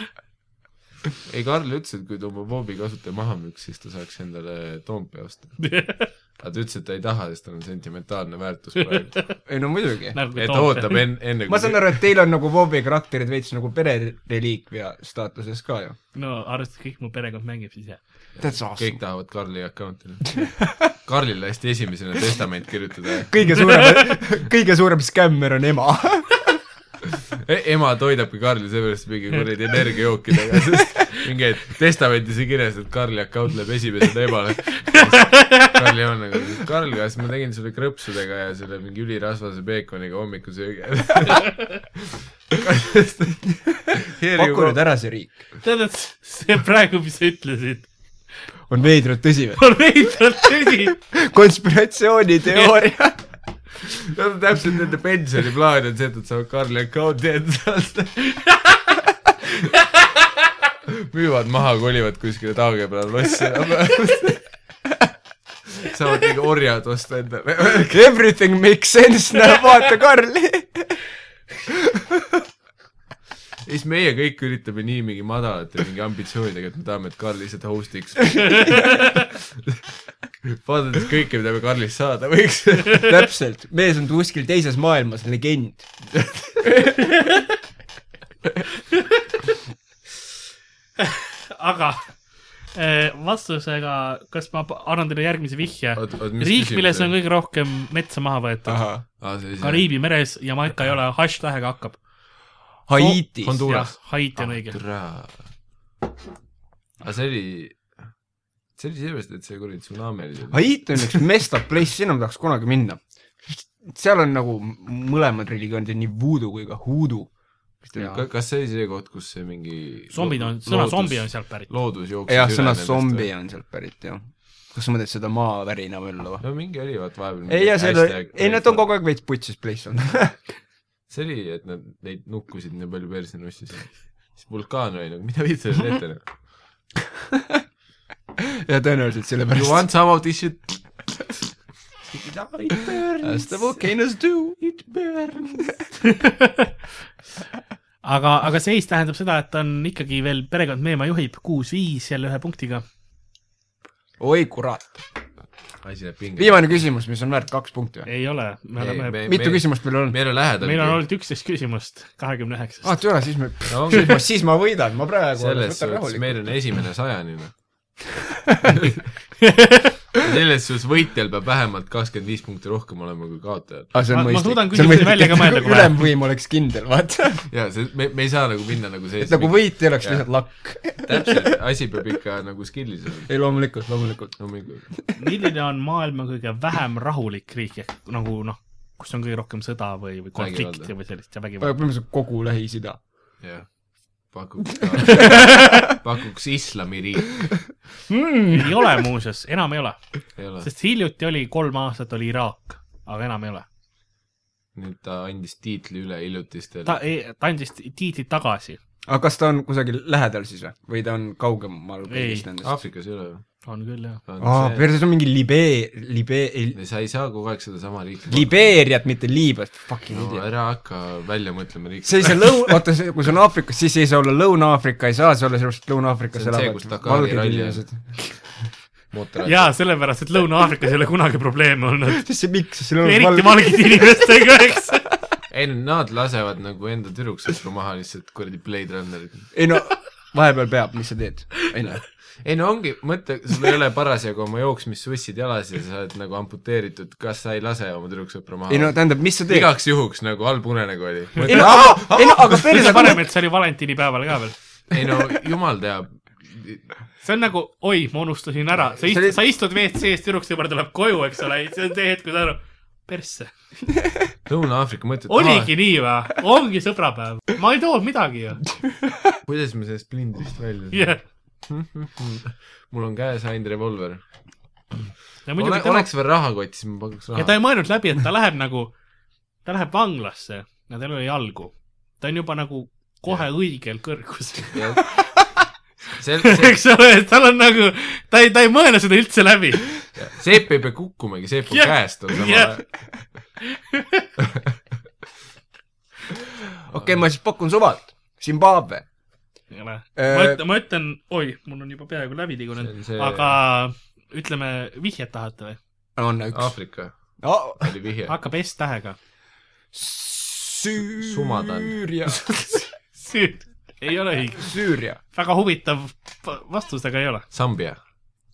[SPEAKER 3] ei , Karl ütles , et kui ta oma voobi kasutaja maha müüks , siis ta saaks endale Toompea osta . aga ta ütles , et ta ei taha , sest tal on sentimentaalne väärtus praegu .
[SPEAKER 4] ei no muidugi .
[SPEAKER 2] nagu
[SPEAKER 3] et ta ootab . en- , enne
[SPEAKER 4] ma saan aru , et teil on nagu Bobi karakterid veits nagu perereliikvia staatuses ka ju .
[SPEAKER 2] no arvestades kõik mu perekond mängib , siis jah .
[SPEAKER 4] That's
[SPEAKER 3] kõik
[SPEAKER 4] awesome .
[SPEAKER 3] tahavad Karli account'i . Karlile hästi esimesena testament kirjutada .
[SPEAKER 4] kõige suurem , kõige suurem skämmer on ema .
[SPEAKER 3] E-, ema toidabki Karli seepärast mingi kuradi energiajookidega , sest mingi et testamendis on kirjas , et Karli account läheb esimesena emale . Karli on nagu , Karl , kas ma tegin sulle krõpsudega ja selle mingi ülirasvase beekoniga hommikusöögi
[SPEAKER 4] paku nüüd
[SPEAKER 3] ära .
[SPEAKER 4] ära see riik .
[SPEAKER 2] tähendab , see praegu , mis sa ütlesid ,
[SPEAKER 4] on veidralt tõsi või ?
[SPEAKER 2] on veidralt tõsi .
[SPEAKER 4] konspiratsiooniteooria .
[SPEAKER 3] täpselt nende pensioniplaan on see , et nad saavad Karli account'i endale . müüvad maha , kolivad kuskile taage peale lossi . saavad mingi orjad osta endale .
[SPEAKER 4] Everything makes sense , näe , vaata Karli .
[SPEAKER 3] ja siis meie kõik üritame nii mingi madalate mingi ambitsioonidega , et me tahame , et Karl lihtsalt host'iks . vaadates kõike , mida me Karlist saada võiks .
[SPEAKER 4] täpselt , mees on kuskil teises maailmas legend .
[SPEAKER 2] aga eh, vastusega , kas ma pa- annan teile järgmise vihje ?
[SPEAKER 3] oot , oot , mis
[SPEAKER 2] riik , milles on ? kõige rohkem metsa maha võetud .
[SPEAKER 3] aa , see oli
[SPEAKER 2] Kariibi meres ja Maika ei ole , hašš tähega hakkab .
[SPEAKER 4] Haitis .
[SPEAKER 3] Honduras.
[SPEAKER 2] Haiti on õige .
[SPEAKER 3] türa . aga see oli , see oli seepärast , et see kuradi tsunami oli .
[SPEAKER 4] Haiti on üks messed up place , sinna ma tahaks kunagi minna . seal on nagu mõlemad religioonid , nii voodoo kui ka huudu .
[SPEAKER 3] kas see oli see koht , kus see mingi
[SPEAKER 2] zombid on , sõna zombi on . sealt pärit .
[SPEAKER 3] loodus jooksis
[SPEAKER 4] jah , sõna zombi . on sealt pärit jah . kas sa mõtled seda maavärina võllu või ?
[SPEAKER 3] no mingi oli vaata vahepeal .
[SPEAKER 4] ei , ja seal , ei nad on . kogu aeg veits putsis place on .
[SPEAKER 3] see oli , et nad neid nukkusid nii palju persse nussis . siis vulkaan oli nagu , mida viit selle teete nagu .
[SPEAKER 4] ja tõenäoliselt
[SPEAKER 3] You
[SPEAKER 4] sellepärast .
[SPEAKER 3] want some of this shit ?
[SPEAKER 4] As the volcanoes do .
[SPEAKER 2] aga , aga seis tähendab seda , et on ikkagi veel perekond Meemaa juhib kuus-viis jälle ühe punktiga .
[SPEAKER 4] oi kurat .
[SPEAKER 3] asi läheb pinge .
[SPEAKER 4] viimane küsimus , mis on väärt kaks punkti või ?
[SPEAKER 2] ei ole , me oleme ,
[SPEAKER 4] mitu ? küsimust meil on ?
[SPEAKER 3] meil on lähedal .
[SPEAKER 2] meil on olnud üksteist küsimust kahekümne
[SPEAKER 4] aa ,
[SPEAKER 2] üheksast .
[SPEAKER 4] türa , siis me ,
[SPEAKER 3] No ongi.
[SPEAKER 4] siis ma võidan , ma praegu
[SPEAKER 3] selles
[SPEAKER 4] võtan
[SPEAKER 3] suhtes
[SPEAKER 4] rahulikult.
[SPEAKER 3] meil on esimene sajani noh selles suhtes võitjal peab vähemalt kakskümmend viis punkti rohkem olema kui kaotajal .
[SPEAKER 4] aga Ah, see on
[SPEAKER 2] Ma- ma
[SPEAKER 4] mõistlik .
[SPEAKER 2] suudan küsimusi välja ka mõelda, kui vaja.
[SPEAKER 4] ülemvõim oleks kindel , vaata .
[SPEAKER 3] jaa , see , me , me ei saa nagu minna nagu sees .
[SPEAKER 4] et nagu võit ei oleks
[SPEAKER 3] Jah.
[SPEAKER 4] lihtsalt lakk .
[SPEAKER 3] täpselt , asi peab ikka nagu skill'is olema .
[SPEAKER 4] ei , loomulikult , loomulikult .
[SPEAKER 3] loomulikult .
[SPEAKER 2] Ah. milline on maailma kõige vähem rahulik riik ehk nagu noh , kus on kõige rohkem sõda või , või konflikti
[SPEAKER 3] Vägivalda.
[SPEAKER 2] või sellist ja vägivalda .
[SPEAKER 4] põhimõtteliselt kogu Lähis-Ida .
[SPEAKER 3] jah . pakuks , pakuks islamiriik .
[SPEAKER 2] ei ole muuseas , enam ei ole ,
[SPEAKER 3] ei ole ,
[SPEAKER 2] sest hiljuti oli kolm aastat oli Iraak , aga enam ei ole .
[SPEAKER 3] nüüd ta andis tiitli üle hiljutistele
[SPEAKER 2] ta , ta andis tiitli tagasi ,
[SPEAKER 4] aga kas ta on kusagil lähedal siis või , või ta on kaugemal kõigist nendest ?
[SPEAKER 3] Aafrikas ei ole ju .
[SPEAKER 2] on küll jah .
[SPEAKER 4] Ah. aa , perses on mingi Libee- , Libee- , ei ,
[SPEAKER 3] sa ei saa kogu aeg sedasama riiki .
[SPEAKER 4] Libeeriat , mitte Liibüat , fucking
[SPEAKER 3] no
[SPEAKER 4] idiot .
[SPEAKER 3] ära hakka välja mõtlema riiki .
[SPEAKER 4] see ei saa lõu- , oota , see , kui see on Aafrikas , siis ei saa olla Lõuna-Aafrika , ei saa see olla sellepärast , et
[SPEAKER 3] See
[SPEAKER 4] Lõuna-Aafrikas
[SPEAKER 3] on see,
[SPEAKER 4] elavad
[SPEAKER 3] kus Dakari ralli on.
[SPEAKER 4] valged inimesed .
[SPEAKER 3] mootorratta .
[SPEAKER 2] jaa , sellepärast , et Lõuna-Aafrikas ei ole kunagi probleeme olnud .
[SPEAKER 4] sest see miks , seal
[SPEAKER 2] eriti valgete inimestega , eks .
[SPEAKER 3] ei , nad lasevad nagu enda tüdruksõpru maha lihtsalt kuradi Blade Runnerit .
[SPEAKER 4] ei no , vahepeal peab , mis sa teed ?
[SPEAKER 3] ei noh , ei no ongi mõte , sul ei ole parasjagu oma jooksmissussid jalas ja sa oled nagu amputeeritud , kas sa ei lase oma tüdruksõpru maha ?
[SPEAKER 4] ei no tähendab , mis sa teed ?
[SPEAKER 3] igaks juhuks nagu halb unenägu oli .
[SPEAKER 4] ei no , aga , ei no aga
[SPEAKER 2] kõige
[SPEAKER 4] perse
[SPEAKER 2] parem , et see oli valentinipäeval ka veel .
[SPEAKER 3] ei no jumal teab .
[SPEAKER 2] see on nagu , oi , ma unustasin ära , sa
[SPEAKER 4] See oli-
[SPEAKER 2] istud , sa istud WC-s , tüdruksõber tuleb koju , eks ole , see on see hetk , kui ta arvab , persse .
[SPEAKER 3] Lõuna-Aafrika mõtted ,
[SPEAKER 2] oligi nii või ? ongi sõbrapäev . ma ei toonud midagi ju .
[SPEAKER 3] kuidas me sellest plindrist välja yeah. ,
[SPEAKER 2] jah .
[SPEAKER 3] mul on käes ainult revolver .
[SPEAKER 2] ja
[SPEAKER 3] Ole,
[SPEAKER 2] muidugi
[SPEAKER 3] tema...
[SPEAKER 2] tema ,
[SPEAKER 3] oleks veel rahakott , siis ma pakuks
[SPEAKER 2] ja ta
[SPEAKER 3] raha .
[SPEAKER 2] ei mõelnud läbi , et ta läheb nagu , ta läheb vanglasse ja tal oli jalgu . ta on juba nagu kohe õigel kõrgusel .
[SPEAKER 3] see , see ,
[SPEAKER 2] eks ole , tal on nagu , ta ei , ta ei mõelnud seda üldse läbi .
[SPEAKER 3] seep ei pea kukkumagi , seep on
[SPEAKER 2] Jah.
[SPEAKER 3] yeah. käest , on sama
[SPEAKER 2] Jah.
[SPEAKER 3] yeah. .
[SPEAKER 4] okei , ma siis pakun suvalt . Zimbabwe .
[SPEAKER 2] ei ole . ma
[SPEAKER 4] Äh,
[SPEAKER 2] ütlen , ma ütlen , oi , mul on juba peaaegu läbi tigunenud ,
[SPEAKER 3] See on see-
[SPEAKER 2] aga ütleme , vihjet tahate või ?
[SPEAKER 4] on üks .
[SPEAKER 3] Aafrika oli vihje .
[SPEAKER 2] hakkab S tähega .
[SPEAKER 3] Sumadan.
[SPEAKER 4] Süüria .
[SPEAKER 2] süüd , ei ole õige .
[SPEAKER 4] Süüria .
[SPEAKER 2] väga huvitav pa- vastus , aga ei ole .
[SPEAKER 3] Sambia ,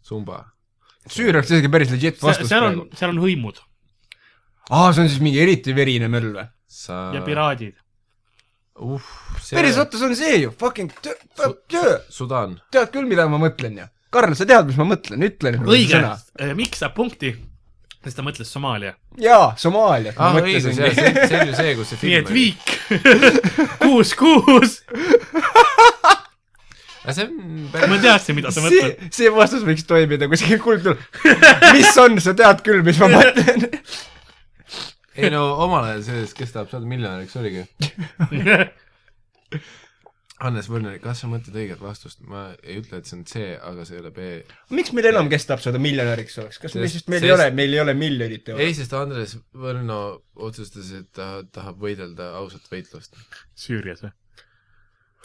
[SPEAKER 3] Sumba .
[SPEAKER 4] Süüria oleks isegi päris legit vastus
[SPEAKER 2] seal on
[SPEAKER 4] praegu .,
[SPEAKER 2] seal on hõimud
[SPEAKER 4] aa , see on siis mingi eriti verine möll või ?
[SPEAKER 3] sa
[SPEAKER 2] ja . piraadid .
[SPEAKER 3] uh , see
[SPEAKER 4] päris . vaata , see on see ju , fucking töö , töö ,
[SPEAKER 3] Sudaan .
[SPEAKER 4] tead küll , mida ma mõtlen ju . Karl , sa tead , mis ma mõtlen , ütle nüüd
[SPEAKER 2] õige ., Mikk saab punkti , sest ta mõtles Somaalia .
[SPEAKER 4] jaa , Somaalia .
[SPEAKER 3] ah , õigus , jah , see , see on ju see , kus see
[SPEAKER 2] nii
[SPEAKER 3] film
[SPEAKER 2] et . viik , kuus , kuus ,
[SPEAKER 3] aga see on
[SPEAKER 2] ma
[SPEAKER 3] päris ,
[SPEAKER 2] teadsin , mida sa
[SPEAKER 4] see
[SPEAKER 2] mõtled .,
[SPEAKER 4] see vastus võiks toimida kuskil kuldtul . mis on , sa tead küll , mis ma mõtlen .
[SPEAKER 3] ei no omal ajal selles , kes tahab saada miljonäriks , oligi . Hannes Võrner , kas sa mõtled õiget vastust ? ma ei ütle , et see on C , aga see ei ole B .
[SPEAKER 4] miks meil enam , kes tahab saada miljonäriks oleks , kas meil
[SPEAKER 3] Sest-
[SPEAKER 4] sest meil ei
[SPEAKER 3] sest-
[SPEAKER 4] ole , meil ei ole miljonit eurot ?
[SPEAKER 3] ei , sest Andres Võrno otsustas , et ta tahab võidelda ausat võitlust .
[SPEAKER 2] Süürias või ?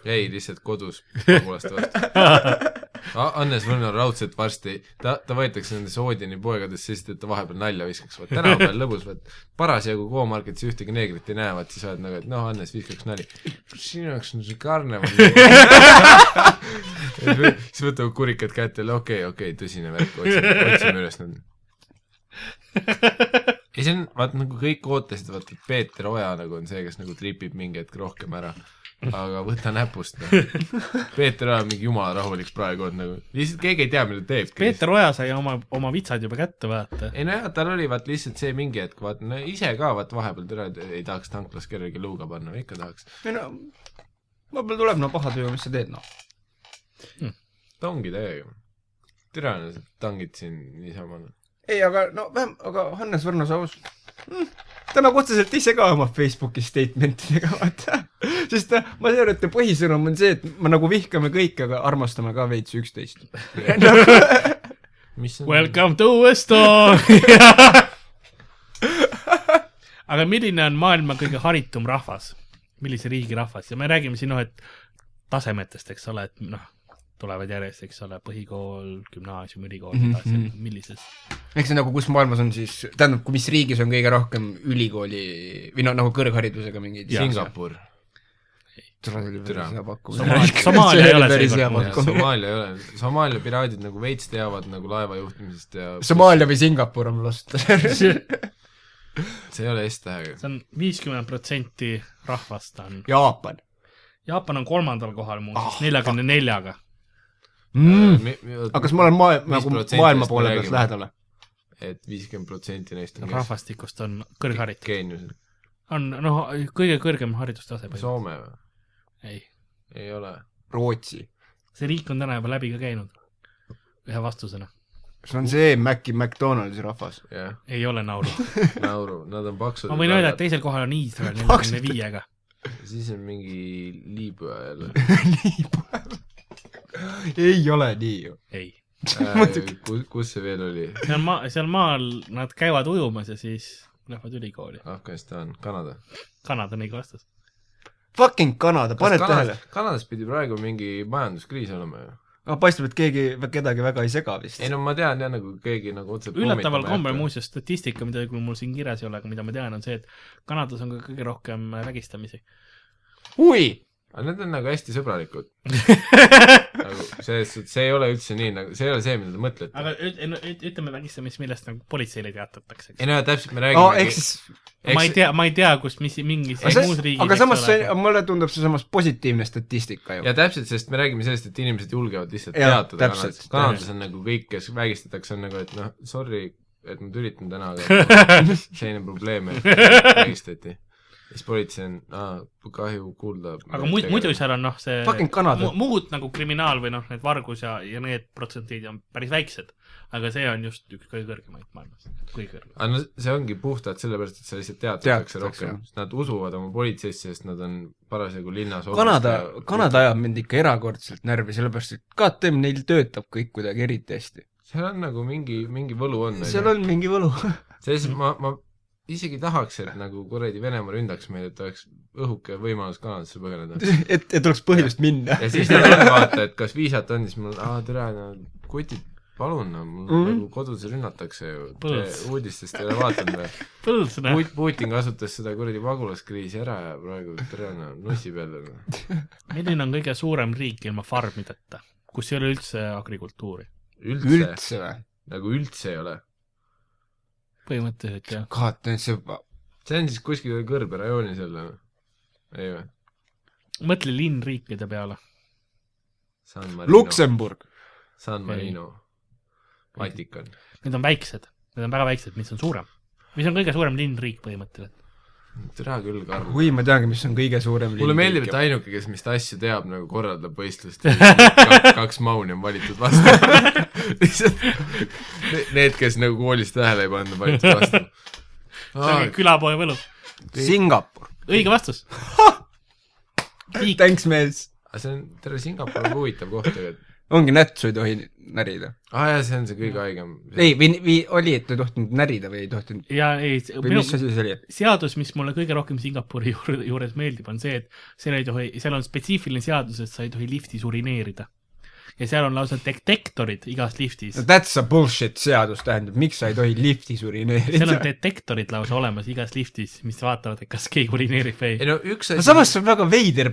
[SPEAKER 3] ei , lihtsalt kodus , pagulaste vastu A- Hannes Võrno raudselt varsti , ta , ta võetakse nendesse Oodini poegadesse , sest et ta vahepeal nalja viskaks , vaat tänapäeval lõbus , vaat parasjagu Go-Marketis ühtegi neegrit ei näe , vaat siis oled nagu , et noh , Hannes viskaks nali . sinu jaoks on see karneval . siis võtavad kurikad kätte , okei , okei , tõsine värk , otsime , otsime üles nad . ei , see on , vaat nagu kõik ootasid , vaata et Peeter Oja nagu on see , kes nagu tripib mingi hetk rohkem ära . aga võta näpust , noh . Peeter Oja on mingi jumala rahulik praegu , on nagu , lihtsalt keegi ei tea , mida ta teeb .
[SPEAKER 2] Peeter Oja sai oma , oma vitsad juba kätte , vaata .
[SPEAKER 3] ei nojah , tal oli vaat lihtsalt see mingi hetk , vaat no ise ka vaat vahepeal täna ei tahaks tanklas kellelegi luuga panna , ikka tahaks .
[SPEAKER 4] ei no , vahepeal tuleb no paha töö , mis sa teed noh .
[SPEAKER 3] ta ongi täiega . türa on , tangid siin niisama . noh.
[SPEAKER 4] ei , aga no vähem , aga Hannes Võrno Saus mm, , ta nagu otseselt ise ka oma Facebooki statementidega , vaata . sest ta , ma tean , et ta põhisõnum on see , et me nagu vihkame kõike , aga armastame ka veits üksteist .
[SPEAKER 3] mis on
[SPEAKER 2] Welcome to Estonia aga milline on maailma kõige haritum rahvas ? millise riigi rahvas ja me räägime siin noh , et tasemetest , eks ole , et noh , tulevad järjest , eks ole , põhikool , gümnaasium , ülikool , nii edasi , millises .
[SPEAKER 4] eks see nagu , kus maailmas on siis , tähendab , mis riigis on kõige rohkem ülikooli või noh , nagu kõrgharidusega mingeid
[SPEAKER 3] Singapur .
[SPEAKER 4] Tule, see oli
[SPEAKER 3] Türa.
[SPEAKER 4] päris hea pakkumine
[SPEAKER 2] Somaalia- Somaalia ei ole
[SPEAKER 4] päris
[SPEAKER 2] seekord
[SPEAKER 4] hea
[SPEAKER 2] muidugi.
[SPEAKER 4] pakkumine .
[SPEAKER 3] Somaalia ei ole , Somaalia piraadid nagu veits teavad nagu laeva juhtimisest ja
[SPEAKER 4] Somaalia või Singapur on mul ausalt öeldes .
[SPEAKER 2] see
[SPEAKER 3] see ei ole S-tähega .
[SPEAKER 2] on viiskümmend protsenti rahvast on ,
[SPEAKER 4] Jaapan
[SPEAKER 2] Jaapan on kolmandal kohal muuseas , neljakümne neljaga .
[SPEAKER 3] Äh,
[SPEAKER 4] mm. . aga kas ma olen maa , nagu maailma poole pealt lähedal või ?
[SPEAKER 3] et viiskümmend protsenti neist on kes-
[SPEAKER 2] rahvastikust on kõrgharitud ,
[SPEAKER 3] geeniused .
[SPEAKER 2] on noh , kõige kõrgem haridustase põhimõtteliselt ,
[SPEAKER 3] Soome või ?
[SPEAKER 2] ei
[SPEAKER 3] ei ole .
[SPEAKER 4] Rootsi
[SPEAKER 2] see riik on täna juba läbi ka käinud . ühe vastusena .
[SPEAKER 4] see on see Maci McDonaldsi rahvas .
[SPEAKER 3] jah ,
[SPEAKER 2] ei ole nauru .
[SPEAKER 3] nauru , nad on paksud .
[SPEAKER 2] ma võin öelda , et teisel kohal on Iisrael
[SPEAKER 4] Paksuti.
[SPEAKER 2] neljakümne viiega .
[SPEAKER 3] siis on mingi Liibüa jälle .
[SPEAKER 4] nii palju . ei ole nii ju .
[SPEAKER 2] ei .
[SPEAKER 3] Äh,
[SPEAKER 4] Äh,
[SPEAKER 3] kus , kus see veel oli ?
[SPEAKER 2] seal maa , seal maal nad käivad ujumas ja siis lähevad ülikooli .
[SPEAKER 3] Afganistan , Kanada .
[SPEAKER 2] Kanada on õige vastus .
[SPEAKER 4] Fucking Kanada , paned tähele ??
[SPEAKER 3] Kanadas pidi praegu mingi majanduskriis olema ju .
[SPEAKER 4] aga paistab , et keegi kedagi väga ei sega vist .
[SPEAKER 3] ei no ma tean jah , nagu keegi nagu otseselt
[SPEAKER 2] üllataval kombel muuseas statistika , mida küll mul siin kirjas ei ole , aga mida ma tean , on see , et Kanadas on ka kõige rohkem vägistamisi .
[SPEAKER 3] ui , aga need on nagu hästi sõbralikud nagu selles suhtes , see ei ole üldse nii nagu , see ei ole see , mida te mõtlete
[SPEAKER 2] aga . üt- no üt- ütleme vägistamist , millest nagu politseile teatatakse , eks
[SPEAKER 3] ei . no ja täpselt , me
[SPEAKER 4] no
[SPEAKER 3] räägime
[SPEAKER 4] ehk siis ,
[SPEAKER 2] ma ei tea , ma ei tea , kus , mis mingis
[SPEAKER 4] aga
[SPEAKER 2] muus
[SPEAKER 4] see ,
[SPEAKER 2] riigis .
[SPEAKER 4] aga samas see ,
[SPEAKER 3] nagu-
[SPEAKER 4] mulle tundub see samas positiivne statistika ju .
[SPEAKER 3] ja täpselt , sest me räägime sellest , et inimesed julgevad lihtsalt
[SPEAKER 4] Jah,
[SPEAKER 3] teatada
[SPEAKER 4] täpselt,
[SPEAKER 3] Kanadas , Kanadas on nagu kõik , kes vägistatakse , on nagu , et noh , sorry , et ma tülitan täna , aga selline probleem , et vägistati . siis politsei on , aa , kahju kuulda .
[SPEAKER 2] aga muid , muidu seal on noh , see
[SPEAKER 4] Fucking Kanada.
[SPEAKER 2] mu- muud nagu kriminaal või noh , need vargus ja , ja need protsendid on päris väiksed . aga see on just üks kõige kõrgemaid maailmas , kõige kõrgem .
[SPEAKER 3] aga no see ongi puhtalt sellepärast , et sa lihtsalt
[SPEAKER 4] Teatatakse,
[SPEAKER 3] teatatakse rohkem , nad usuvad oma politseisse , sest nad on parasjagu linnas
[SPEAKER 4] Kanada , Kanada ajab mind ikka erakordselt närvi , sellepärast et KTM neil töötab kõik kuidagi eriti hästi .
[SPEAKER 3] seal on nagu mingi , mingi võlu on .
[SPEAKER 4] seal on mingi võlu .
[SPEAKER 3] selles ma , ma isegi tahaks , et nagu kuradi Venemaa ründaks meid , et oleks õhuke võimalus Kanadasse põgeneda .
[SPEAKER 4] et , et oleks põhjust minna .
[SPEAKER 3] ja siis nad on vaata , et kas viisat on , siis mul , aa tere , no kutid , palun , no mul
[SPEAKER 4] Mhm.
[SPEAKER 3] mm. nagu kodus rünnatakse ju .
[SPEAKER 2] Põõs.
[SPEAKER 3] uudistest ei ole vaadanud või ?
[SPEAKER 2] põldsõna .
[SPEAKER 3] Put- , Putin kasutas seda kuradi pagulaskriisi ära ja praegu tere , no nussi peal noh. on .
[SPEAKER 2] milline on kõige suurem riik ilma farmideta , kus ei ole üldse agrikultuuri ?
[SPEAKER 3] üldse, üldse. ,
[SPEAKER 4] üldse või ?
[SPEAKER 3] nagu üldse ei ole .
[SPEAKER 2] põhimõtteliselt jah .
[SPEAKER 4] KTM , see ,
[SPEAKER 3] see on siis kuskil kõrberajoonis jälle või ? ei või ?
[SPEAKER 2] mõtle linnriikide peale .
[SPEAKER 3] San Marino .
[SPEAKER 4] Luksemburg .
[SPEAKER 3] San Marino . Vatikan .
[SPEAKER 2] Need on väiksed , need on väga väiksed , mis on suurem . mis on kõige suurem linnriik põhimõtteliselt .
[SPEAKER 3] tere küll , Karl .
[SPEAKER 4] oi , ma teangi , mis on kõige suurem
[SPEAKER 3] mulle meeldib , et ainuke , kes vist asju teab , nagu korraldab võistlust ja ka- kaks mauni on valitud vastama . lihtsalt ne- need , kes nagu koolis tähele ei pannud , on valitud
[SPEAKER 2] see on
[SPEAKER 3] vastama .
[SPEAKER 2] külapoe võlu .
[SPEAKER 4] Singapur .
[SPEAKER 2] õige vastus . riik ,
[SPEAKER 4] Thanks , mees .
[SPEAKER 3] see on , tere , Singapur on huvitav koht , aga
[SPEAKER 4] ongi nätsu ei tohi närida .
[SPEAKER 3] aa ah, jaa , see on see kõige haigem .
[SPEAKER 4] ei , või , või oli , et ei tohtinud närida või ei tohtinud
[SPEAKER 2] ja ei ,
[SPEAKER 4] või mis asi see oli ?
[SPEAKER 2] seadus , mis mulle kõige rohkem Singapuri juur- juures meeldib , on see , et seal ei tohi , seal on spetsiifiline seadus , et sa ei tohi liftis urineerida . ja seal on lausa detektorid igas liftis
[SPEAKER 4] no . that's a bullshit seadus tähendab , miks sa ei tohi liftis
[SPEAKER 2] seal on
[SPEAKER 4] urineerida ?
[SPEAKER 2] detektorid lausa olemas igas liftis , mis vaatavad , et kas keegi urineerib või
[SPEAKER 3] ei
[SPEAKER 2] ei .
[SPEAKER 3] no üks
[SPEAKER 4] no
[SPEAKER 3] asi
[SPEAKER 4] samas see on väga veider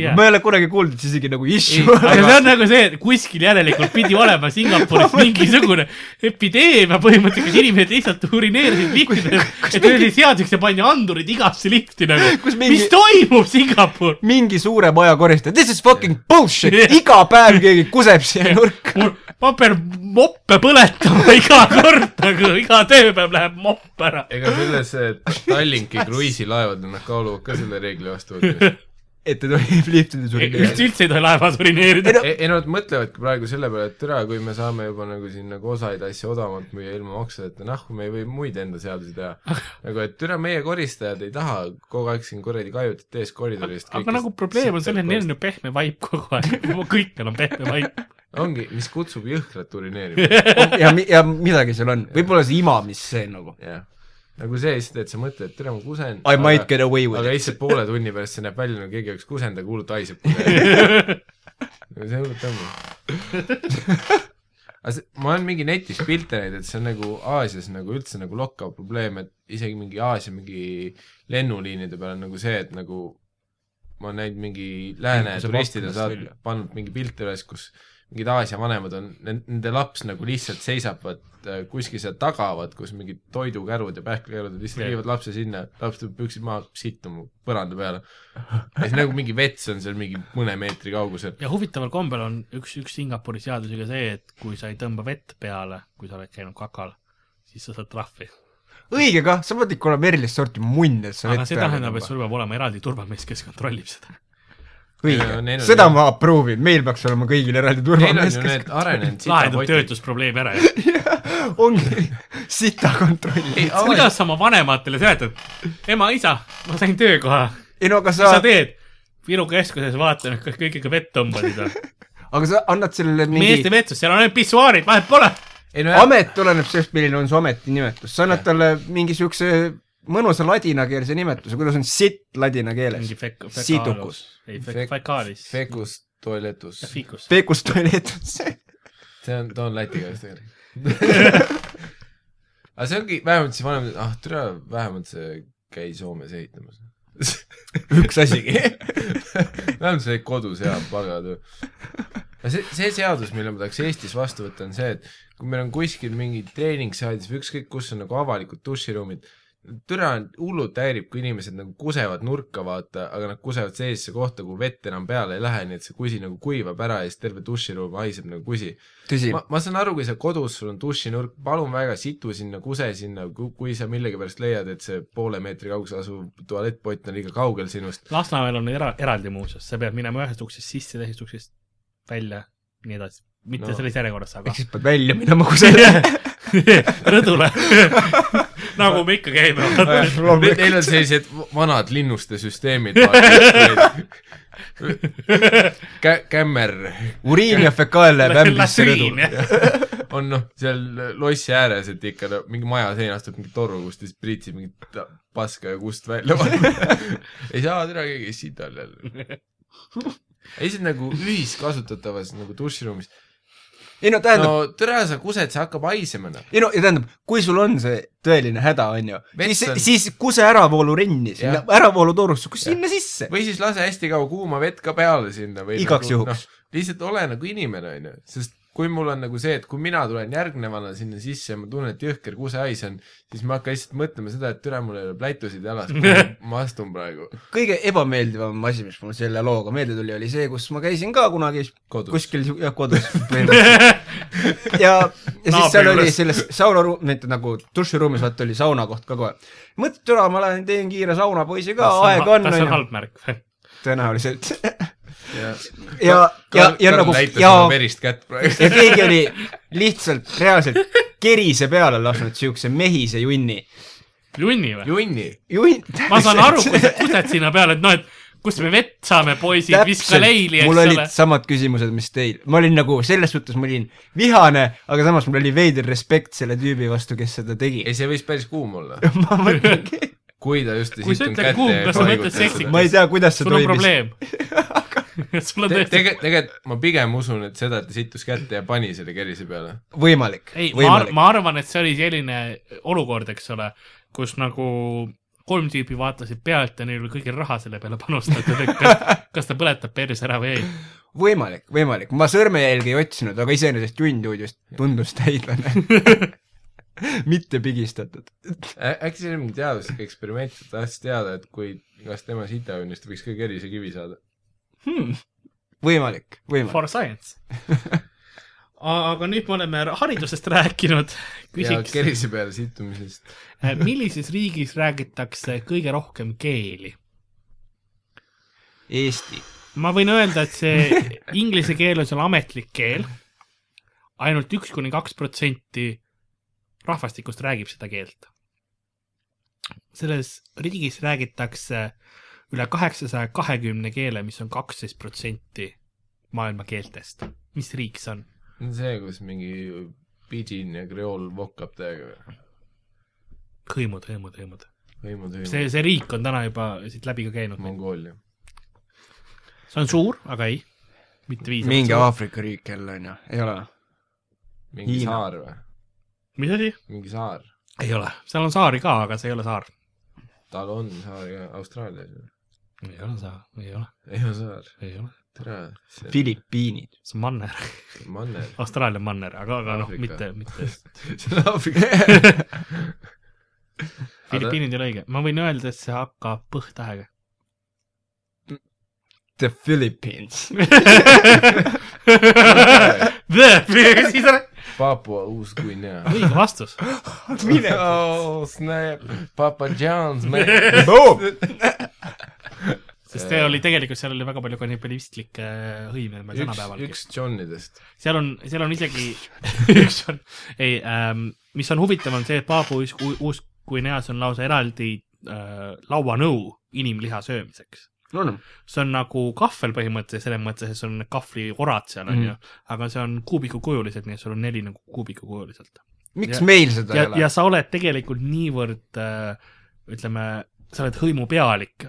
[SPEAKER 2] Jah.
[SPEAKER 4] yeah. , ma ei ole kunagi kuulnud , et see isegi nagu issue
[SPEAKER 2] aga
[SPEAKER 4] on .
[SPEAKER 2] see on nagu see , et kuskil järelikult pidi olema Singapuris mingisugune epideemia põhimõtteliselt , kus inimesed lihtsalt urineerisid liftides , et see oli seaduseks ja pandi andurid igasse lifti nagu
[SPEAKER 4] Kus . mingi-
[SPEAKER 2] mis toimub , Singapur ?
[SPEAKER 4] mingi suure maja koristaja , this is fucking bullshit , iga päev keegi kuseb siia nurka .
[SPEAKER 2] mul , ma pean moppe põletama iga kord , nagu iga tööpäev läheb mopp ära .
[SPEAKER 3] ega selles eh, Tallinki kruiisilaevadel nad kaaluvad ka selle reegli vastuvõtmist .
[SPEAKER 4] et ei tohi liftides
[SPEAKER 2] üldse ,
[SPEAKER 4] urineerida .
[SPEAKER 2] üldse ei tohi laevas urineerida .
[SPEAKER 3] E-, ei no nad mõtlevadki praegu selle peale , et tere , kui me saame juba nagu siin nagu osaid asju odavamalt müüa ilma maksudeta , nahku me ei või muid enda seadusi teha . nagu et tere , meie koristajad ei taha kogu aeg siin kuradi kajutit ees koridorist
[SPEAKER 2] aga nagu probleem on selles , et neil on ju pehme vaip kogu aeg , kõikjal on pehme vaip .
[SPEAKER 3] ongi , mis kutsub jõhkrat urineerima ,
[SPEAKER 4] ja , ja midagi seal on , võib-olla see imamisseen nagu .
[SPEAKER 3] jah . nagu see lihtsalt , et sa mõtled , tere , ma kusen .
[SPEAKER 4] I might get away with
[SPEAKER 3] aga
[SPEAKER 4] it .
[SPEAKER 3] lihtsalt poole tunni pärast see näeb välja , nagu keegi oleks kusend , aga hullult haiseb . see on hullult ammu . aga see , ma olen mingi netis pilte näinud , et see on nagu Aasias nagu üldse nagu lokkav probleem , et isegi mingi Aasia mingi lennuliinide peal on nagu see , et nagu ma olen näinud mingi lääne
[SPEAKER 4] Inimese
[SPEAKER 3] turistid on
[SPEAKER 4] pakkumist
[SPEAKER 3] saatnud
[SPEAKER 4] välja. ,
[SPEAKER 3] pannud mingi pilte üles , kus mingid Aasia vanemad on , nende laps nagu lihtsalt seisab , vaat äh, kuskil seal taga , vaat kus mingid toidukärud ja pähklikärud ja lihtsalt
[SPEAKER 2] Jah.
[SPEAKER 3] viivad lapse sinna , laps tuleb püksid maha , sitt on mu põranda peale . ja siis nagu mingi vets on seal mingi mõne meetri kaugusel .
[SPEAKER 2] ja huvitaval kombel on üks , üks Singapuri seadusega see , et kui sa ei tõmba vett peale , kui sa oled käinud kakal , siis sa saad trahvi .
[SPEAKER 4] õige kah , sa pead ikka olema erilist sorti munn , et sa
[SPEAKER 2] aga
[SPEAKER 4] vett
[SPEAKER 2] see
[SPEAKER 4] peale
[SPEAKER 2] tähendab , et
[SPEAKER 4] tõmbad.
[SPEAKER 2] sul peab olema eraldi turvamees , kes kontrollib seda .
[SPEAKER 3] Ja
[SPEAKER 4] õige
[SPEAKER 3] neil , on
[SPEAKER 4] seda
[SPEAKER 3] ju-
[SPEAKER 4] ma approve in , meil peaks olema kõigil
[SPEAKER 3] Neil
[SPEAKER 4] eraldi
[SPEAKER 3] on
[SPEAKER 4] turvamees ,
[SPEAKER 3] ju
[SPEAKER 4] kes
[SPEAKER 3] need arenenud
[SPEAKER 2] lahendab
[SPEAKER 3] sitapotid .
[SPEAKER 2] töötusprobleemi ära ju .
[SPEAKER 4] ongi sita kontrolli .
[SPEAKER 2] kuidas sa oma vanematele seletad ? ema , isa , ma sain töökoha ,
[SPEAKER 4] ei no aga
[SPEAKER 2] mis
[SPEAKER 4] sa
[SPEAKER 2] sa , teed ? Viru keskuses vaatan , et kas kõik ikka vett tõmbasid või ?
[SPEAKER 4] aga sa annad sellele
[SPEAKER 2] meeste
[SPEAKER 4] mingi ,
[SPEAKER 2] vetsus , seal on ainult pissuaarid , vahet pole .
[SPEAKER 3] ei no jah ,
[SPEAKER 4] amet oleneb sellest , milline on su ametinimetus , sa annad talle mingi siukse mõnusa ladinakeelse nimetuse , kuidas on sitt ladina keeles
[SPEAKER 2] mingi fek- ,
[SPEAKER 4] situkus .
[SPEAKER 2] fekaalis , ei
[SPEAKER 3] Fek-
[SPEAKER 2] fek- , fekaalis .
[SPEAKER 3] fekust toiletus
[SPEAKER 2] ja . fiikus .
[SPEAKER 4] Peekus tualetus .
[SPEAKER 3] see on , ta on Läti keeles tegelikult . aga see ongi vähemalt siis vanem , ah türa , vähemalt see käis Soomes ehitamas .
[SPEAKER 4] üks asigi .
[SPEAKER 3] vähemalt see oli kodus hea pagatöö . aga see , see seadus , mille ma tahaks Eestis vastu võtta , on see , et kui meil on kuskil mingi treeningsaadis või ükskõik kus on nagu avalikud duširuumid , türa hullult häirib , kui inimesed nagu kusevad nurka , vaata , aga nad kusevad sellisesse kohta , kuhu vett enam peale ei lähe , nii et see kusi nagu kuivab ära ja siis terve duširuum haiseb nagu kusi .
[SPEAKER 4] tõsi
[SPEAKER 3] ma , ma saan aru , kui sa kodus , sul on dušinurk , palun väga , situ sinna , kuse sinna , kui sa millegipärast leiad , et see poole meetri kaugusel asuv tualettpott on liiga kaugel sinust .
[SPEAKER 2] Lasnamäel on era- , eraldi muuseas , sa pead minema ühest uksest sisse , teisest uksest välja , nii edasi . mitte
[SPEAKER 3] No.
[SPEAKER 2] no. selles järjekorras , aga
[SPEAKER 4] ehk siis pead välja minema kusagile .
[SPEAKER 2] rõdule . nagu me ikka käime .
[SPEAKER 3] Neil on sellised vanad linnuste süsteemid , kä- , kämmer
[SPEAKER 4] uriin ja fekaal läheb ämblisse rõdule .
[SPEAKER 3] on noh , seal lossi ääres , et ikka no, mingi maja seinast tuleb mingi toru , kust siis pritsib mingit ta- paska ja kust välja . ei saa teda keegi sita all jälle . ei , see on nagu ühiskasutatavas nagu duširuumis .
[SPEAKER 4] ei no tähendab ,
[SPEAKER 3] no tere , sa kused , see hakkab haisema noh .
[SPEAKER 4] ei no ja tähendab , kui sul on see tõeline häda , on ju ,
[SPEAKER 3] Vets
[SPEAKER 4] siis
[SPEAKER 3] on- ,
[SPEAKER 4] siis kuse äravoolu rinni , sinna äravoolutorusse , kus
[SPEAKER 3] Jah.
[SPEAKER 4] sinna sisse .
[SPEAKER 3] või siis lase hästi kaua kuuma vett ka peale sinna või
[SPEAKER 4] Igaks
[SPEAKER 3] nagu,
[SPEAKER 4] juhuks.
[SPEAKER 3] noh, lihtsalt ole nagu inimene , onju , sest kui mul on nagu see , et kui mina tulen järgnevana sinna sisse ja ma tunnen , et jõhker kusehais on , siis ma hakkan lihtsalt mõtlema seda , et türa , mul ei ole plätusid jalas , ma astun praegu
[SPEAKER 4] kõige ebameeldivam asi , mis mul selle looga meelde tuli , oli see , kus ma käisin ka kunagi
[SPEAKER 3] Kodus.
[SPEAKER 4] kuskil siu- jah , kodus põhimõtteliselt ja , ja siis seal
[SPEAKER 2] Naabri
[SPEAKER 4] oli
[SPEAKER 2] juures.
[SPEAKER 4] selles saunaruum , mitte nagu duširuumis , vaata oli sauna koht ka kohe . mõtled , türa , ma lähen teen kiire saunapoisi ka , aeg on ,
[SPEAKER 2] kas see on
[SPEAKER 4] on ju ,
[SPEAKER 2] halb märk või ?
[SPEAKER 4] tõenäoliselt .
[SPEAKER 3] ja ,
[SPEAKER 4] ja , ja , ja nagu ,
[SPEAKER 3] näitas
[SPEAKER 4] ja
[SPEAKER 3] oma verist kätt praegu .
[SPEAKER 4] ja keegi oli lihtsalt reaalselt kerise peale lasknud siukse mehise junni .
[SPEAKER 2] junni või ?
[SPEAKER 3] junni ,
[SPEAKER 4] junn .
[SPEAKER 2] ma saan aru , kui sa kused sinna peale , et noh , et kust me vett saame , poisid , viska leili , eks
[SPEAKER 4] mul olid
[SPEAKER 2] ole .
[SPEAKER 4] samad küsimused , mis teil . ma olin nagu selles suhtes , ma olin vihane , aga samas mul oli veider respekt selle tüübi vastu , kes seda tegi
[SPEAKER 3] ei . see võis päris kuum olla ,
[SPEAKER 4] ma mõtlengi ,
[SPEAKER 3] kui ta just ei
[SPEAKER 2] Kui sa
[SPEAKER 3] situnud
[SPEAKER 2] ütled
[SPEAKER 3] kätte
[SPEAKER 2] kuum,
[SPEAKER 3] ja
[SPEAKER 2] kas sa mõtled
[SPEAKER 3] paigutas
[SPEAKER 2] seksikas?
[SPEAKER 3] seda.
[SPEAKER 4] ma ei tea , kuidas see
[SPEAKER 2] sul on
[SPEAKER 4] toimis .
[SPEAKER 2] probleem . sul on
[SPEAKER 3] Te-
[SPEAKER 2] tõesti
[SPEAKER 3] tegelikult , tegelikult ma pigem usun , et seda , et ta situs kätte ja pani selle kerise peale .
[SPEAKER 4] võimalik ,
[SPEAKER 2] ei , ma ar- ,
[SPEAKER 4] võimalik .
[SPEAKER 2] ma arvan , et see oli selline olukord , eks ole , kus nagu kolm tüüpi vaatasid pealt ja neil oli kõigil raha selle peale panustatud , et kas, kas ta põletab perse ära või ei .
[SPEAKER 4] võimalik , võimalik , ma sõrmejälgi ei otsinud , aga iseenesest junn tundus , tundus täidlane . mitte pigistatud .
[SPEAKER 3] Ä- äkki see oli mingi teaduslik eksperiment , ta tahtis teada , et kui , kas tema sitaõnnist võiks ka kerisekivi saada .
[SPEAKER 4] võimalik , võimalik .
[SPEAKER 2] Hmm, For science A- aga nüüd me oleme haridusest rääkinud ,
[SPEAKER 3] ja
[SPEAKER 2] küsiks ,
[SPEAKER 3] kerise peale situmisest .
[SPEAKER 2] millises riigis räägitakse kõige rohkem keeli ?
[SPEAKER 4] Eesti .
[SPEAKER 2] ma võin öelda , et see inglise keel on seal ametlik keel ainult üks kuni kaks protsenti rahvastikust räägib seda keelt . selles riigis räägitakse üle kaheksasaja kahekümne keele , mis on kaksteist protsenti maailma keeltest . mis riik see on ?
[SPEAKER 3] see , kus mingi pidžin ja kreool vokkab täiega või ?
[SPEAKER 2] hõimud , hõimud , hõimud .
[SPEAKER 3] hõimud , hõimud .
[SPEAKER 2] see , see riik on täna juba siit läbi ka käinud .
[SPEAKER 3] Mongoolia .
[SPEAKER 2] see on suur , aga ei , mitte viis .
[SPEAKER 4] mingi . Aafrika riik jälle onju , ei ole ?
[SPEAKER 3] mingi
[SPEAKER 4] Hiina.
[SPEAKER 3] saar või ?
[SPEAKER 2] mis asi ?
[SPEAKER 3] mingi saar .
[SPEAKER 2] ei ole , seal on saari ka , aga see ei ole saar .
[SPEAKER 3] tal on saar ka Austraalias ju .
[SPEAKER 2] ei ole saar , ei ole ,
[SPEAKER 3] ei ole saar ,
[SPEAKER 2] ei ole .
[SPEAKER 3] tere . see
[SPEAKER 4] Filipiinid .
[SPEAKER 2] see on manner .
[SPEAKER 3] on manner .
[SPEAKER 2] Austraalia manner , aga , aga noh ,
[SPEAKER 3] Aafrika.
[SPEAKER 2] mitte , mitte .
[SPEAKER 3] see on Aafrika .
[SPEAKER 2] Filipiinid ei ole õige , ma võin öelda , et see hakkab põhtähega .
[SPEAKER 4] The Philippines .
[SPEAKER 2] siis on
[SPEAKER 3] Papua Uus-Guinea .
[SPEAKER 2] õige vastus .
[SPEAKER 4] mine
[SPEAKER 3] oh snap , Papa John's man .
[SPEAKER 4] oh! .
[SPEAKER 2] sest see oli tegelikult , seal oli väga palju kannibalistlikke hõime meil
[SPEAKER 3] üks ,
[SPEAKER 2] tänapäevalgi .
[SPEAKER 3] üks Johnidest .
[SPEAKER 2] seal on , seal on isegi üks on , ei ähm, , mis on huvitav , on see , et Paabu Uus-Guineas on lausa eraldi äh, lauanõu inimliha söömiseks .
[SPEAKER 4] no noh ,
[SPEAKER 2] see on nagu kahvel põhimõtteliselt , selles mõttes , et sul on need kahvliorad seal onju mm. ,
[SPEAKER 4] Mhm.
[SPEAKER 2] aga see on kuubikukujuliselt , nii et sul on neli nagu kuubikukujuliselt .
[SPEAKER 4] miks
[SPEAKER 2] Ja-
[SPEAKER 4] ja, meil seda
[SPEAKER 2] ja
[SPEAKER 4] ei , ole
[SPEAKER 2] ja ? sa oled tegelikult niivõrd äh, ütleme , sa oled hõimu pealik ,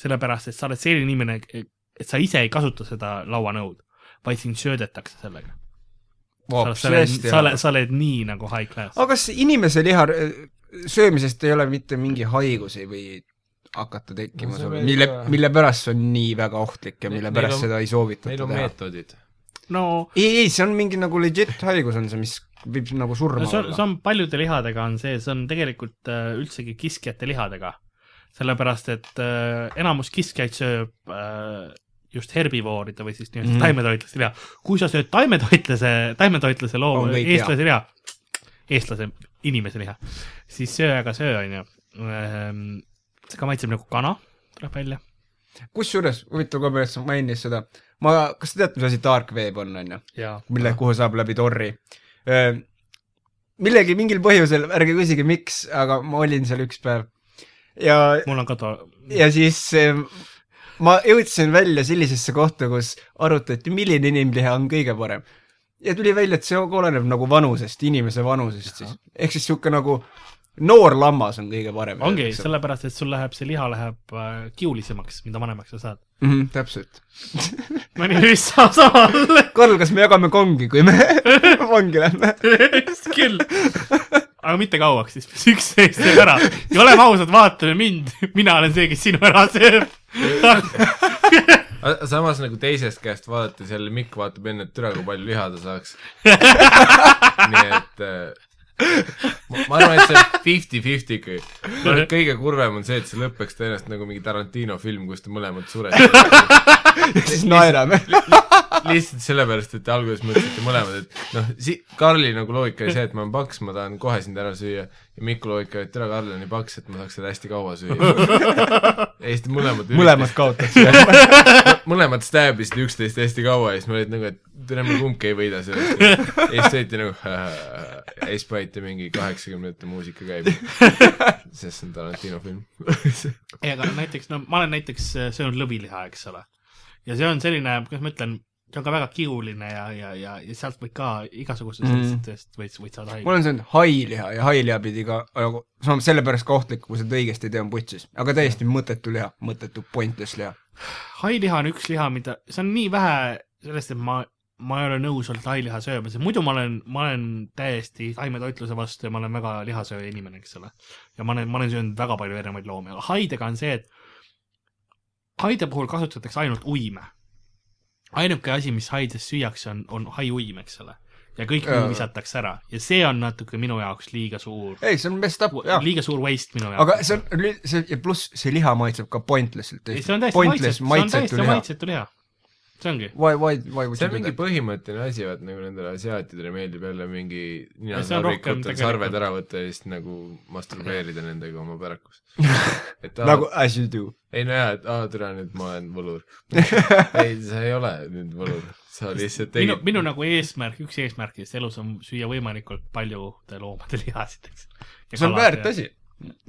[SPEAKER 2] sellepärast et sa oled selline inimene , et sa ise ei kasuta seda lauanõud , vaid sind söödetakse sellega . sa oled ,
[SPEAKER 4] vopsest
[SPEAKER 2] sa oled , sa oled nii nagu high class .
[SPEAKER 4] aga kas inimese liha äh, söömisest ei ole mitte mingi haigus ei või hakata tekkima
[SPEAKER 3] No see
[SPEAKER 4] no, ,
[SPEAKER 3] võib
[SPEAKER 4] mille
[SPEAKER 3] ka. ,
[SPEAKER 4] mille pärast see on nii väga ohtlik ja
[SPEAKER 3] Neil-
[SPEAKER 4] mille
[SPEAKER 3] neil
[SPEAKER 4] pärast
[SPEAKER 3] on-
[SPEAKER 4] seda ei
[SPEAKER 3] neil
[SPEAKER 4] soovitata
[SPEAKER 3] on
[SPEAKER 4] teha ?
[SPEAKER 3] meetodid .
[SPEAKER 2] no
[SPEAKER 4] ei , ei , see on mingi nagu legit haigus on see , mis võib nagu surma
[SPEAKER 2] no see on ,
[SPEAKER 4] olla
[SPEAKER 2] see . on paljude lihadega on see , see on tegelikult äh, üldsegi kiskjate lihadega . sellepärast , et äh, enamus kiskjaid sööb äh, just herbivooride või siis nii-öelda
[SPEAKER 4] Mhm.
[SPEAKER 2] mm. taimetoitlaste liha . kui sa sööd taimetoitlase , taimetoitlase
[SPEAKER 4] On
[SPEAKER 2] looma ,
[SPEAKER 4] kõik hea.
[SPEAKER 2] eestlase liha , eestlase inimese liha , siis söö aga söö , onju . see ka maitseb nagu kana , tuleb välja .
[SPEAKER 4] kusjuures , huvitav kombel , et sa mainisid seda , ma , kas te teate , mis asi dark web on , on ju ?
[SPEAKER 2] ja
[SPEAKER 3] Ah.
[SPEAKER 4] mille , kuhu saab läbi torri . millegi , mingil põhjusel , ärge küsige , miks , aga ma olin seal üks päev ja ,
[SPEAKER 2] mul on ka too ,
[SPEAKER 4] ja siis ähm, ma jõudsin välja sellisesse kohta , kus arutati , milline inimliha on kõige parem . ja tuli välja , et see oleneb nagu vanusest , inimese vanusest siis . ehk siis niisugune nagu noor lammas on kõige parem .
[SPEAKER 2] ongi . sellepärast , et sul läheb , see liha läheb äh, kiulisemaks , mida vanemaks sa saad .
[SPEAKER 4] Mhm, täpselt .
[SPEAKER 2] no nii , mis sa saad ?
[SPEAKER 4] Karl , kas me jagame kongi , kui me vangi lähme ?
[SPEAKER 2] vist küll . aga mitte kauaks , siis peaks üksteist teeb ära . ja oleme ausad , vaatame mind , mina olen see , kes sinu ära sööb .
[SPEAKER 3] samas nagu teisest käest vaadates jälle Mikk vaatab enne , et türa , kui palju liha ta saaks . nii et äh, ma ma arvan , et see on fifty-fifty ikkagi . ma arvan , et kõige kurvem on see , et see lõpeks tõenäoliselt nagu mingi Tarantino film , kus te mõlemad surete .
[SPEAKER 4] siis naerame .
[SPEAKER 3] lihtsalt sellepärast , et te alguses mõtlesite mõlemad , et noh , si- , Karli nagu loogika oli see , et ma olen paks , ma tahan kohe sind ära süüa ja Miku loogika oli , et tere , Karl on nii paks , et ma saaks seda hästi kaua süüa . ja siis te mõlemad
[SPEAKER 4] mõlemad kaotaks .
[SPEAKER 3] üritasid , mõlemad stabbisid üksteist hästi kaua ja siis ma olin nagu , et tere , me kumbki ei võida sellest . ja siis sõiti nagu ja siis panite mingi kaheksakümne minuti muusika käima . sest see on Tarantino film .
[SPEAKER 2] ei , aga näiteks , no ma olen näiteks äh, söönud lõviliha , eks ole . ja see on selline , kuidas ma ütlen , see on ka väga kiuline ja , ja , ja , ja sealt võid ka igasugustest
[SPEAKER 4] Mm.
[SPEAKER 2] mm. asjadest võid , võid saada
[SPEAKER 4] mul
[SPEAKER 2] haigust .
[SPEAKER 4] on söönud hailiha ja hailiha pidi ka , nagu , see on sellepärast ka ohtlik , kui sa seda õigesti ei tee , on putsis . aga täiesti mõttetu liha , mõttetu pointless liha .
[SPEAKER 2] hailiha on üks liha , mida , see on nii vähe sellest , et ma , ma ei ole nõus olnud hailiha sööma , sest muidu ma olen , ma olen täiesti taimetoitluse vastu ja ma olen väga lihasööja inimene , eks ole . ja ma olen , ma olen söönud väga palju erinevaid loomi , aga haidega on see , et haide puhul kasutatakse ainult uime . ainuke asi , mis haides süüakse , on , on hai uim , eks ole . ja kõik
[SPEAKER 4] Jaa.
[SPEAKER 2] muu visatakse ära ja see on natuke minu jaoks liiga suur ,
[SPEAKER 4] ei , see on messed up , jaa .
[SPEAKER 2] liiga suur waste minu jaoks .
[SPEAKER 4] aga see on , see ja pluss see liha maitseb ka pointless'ilt .
[SPEAKER 2] see on täiesti maitsetu , see on täiesti . maitsetu liha . see ongi .
[SPEAKER 4] Why , why , why would
[SPEAKER 3] see
[SPEAKER 4] you
[SPEAKER 3] on
[SPEAKER 4] do
[SPEAKER 3] mingi
[SPEAKER 4] that ?
[SPEAKER 3] põhimõtteline asi , vaat nagu nendele asiaatidele meeldib jälle mingi
[SPEAKER 2] Ja see on
[SPEAKER 3] ninasarvik
[SPEAKER 2] rohkem
[SPEAKER 3] võtta ,
[SPEAKER 2] tegelikult-
[SPEAKER 3] sarved ära võtta ja siis nagu masturbeerida nendega oma pärakus . et aa
[SPEAKER 4] nagu
[SPEAKER 3] nagu... ,
[SPEAKER 4] as you do .
[SPEAKER 3] ei no jaa , et aa , türa , nüüd ma olen võlur . ei , sa ei ole nüüd võlur , sa lihtsalt
[SPEAKER 2] minu ,
[SPEAKER 3] tegid .
[SPEAKER 2] minu nagu eesmärk , üks eesmärkidest elus on süüa võimalikult paljude loomade lihasid , eks .
[SPEAKER 4] see on väärt . asi .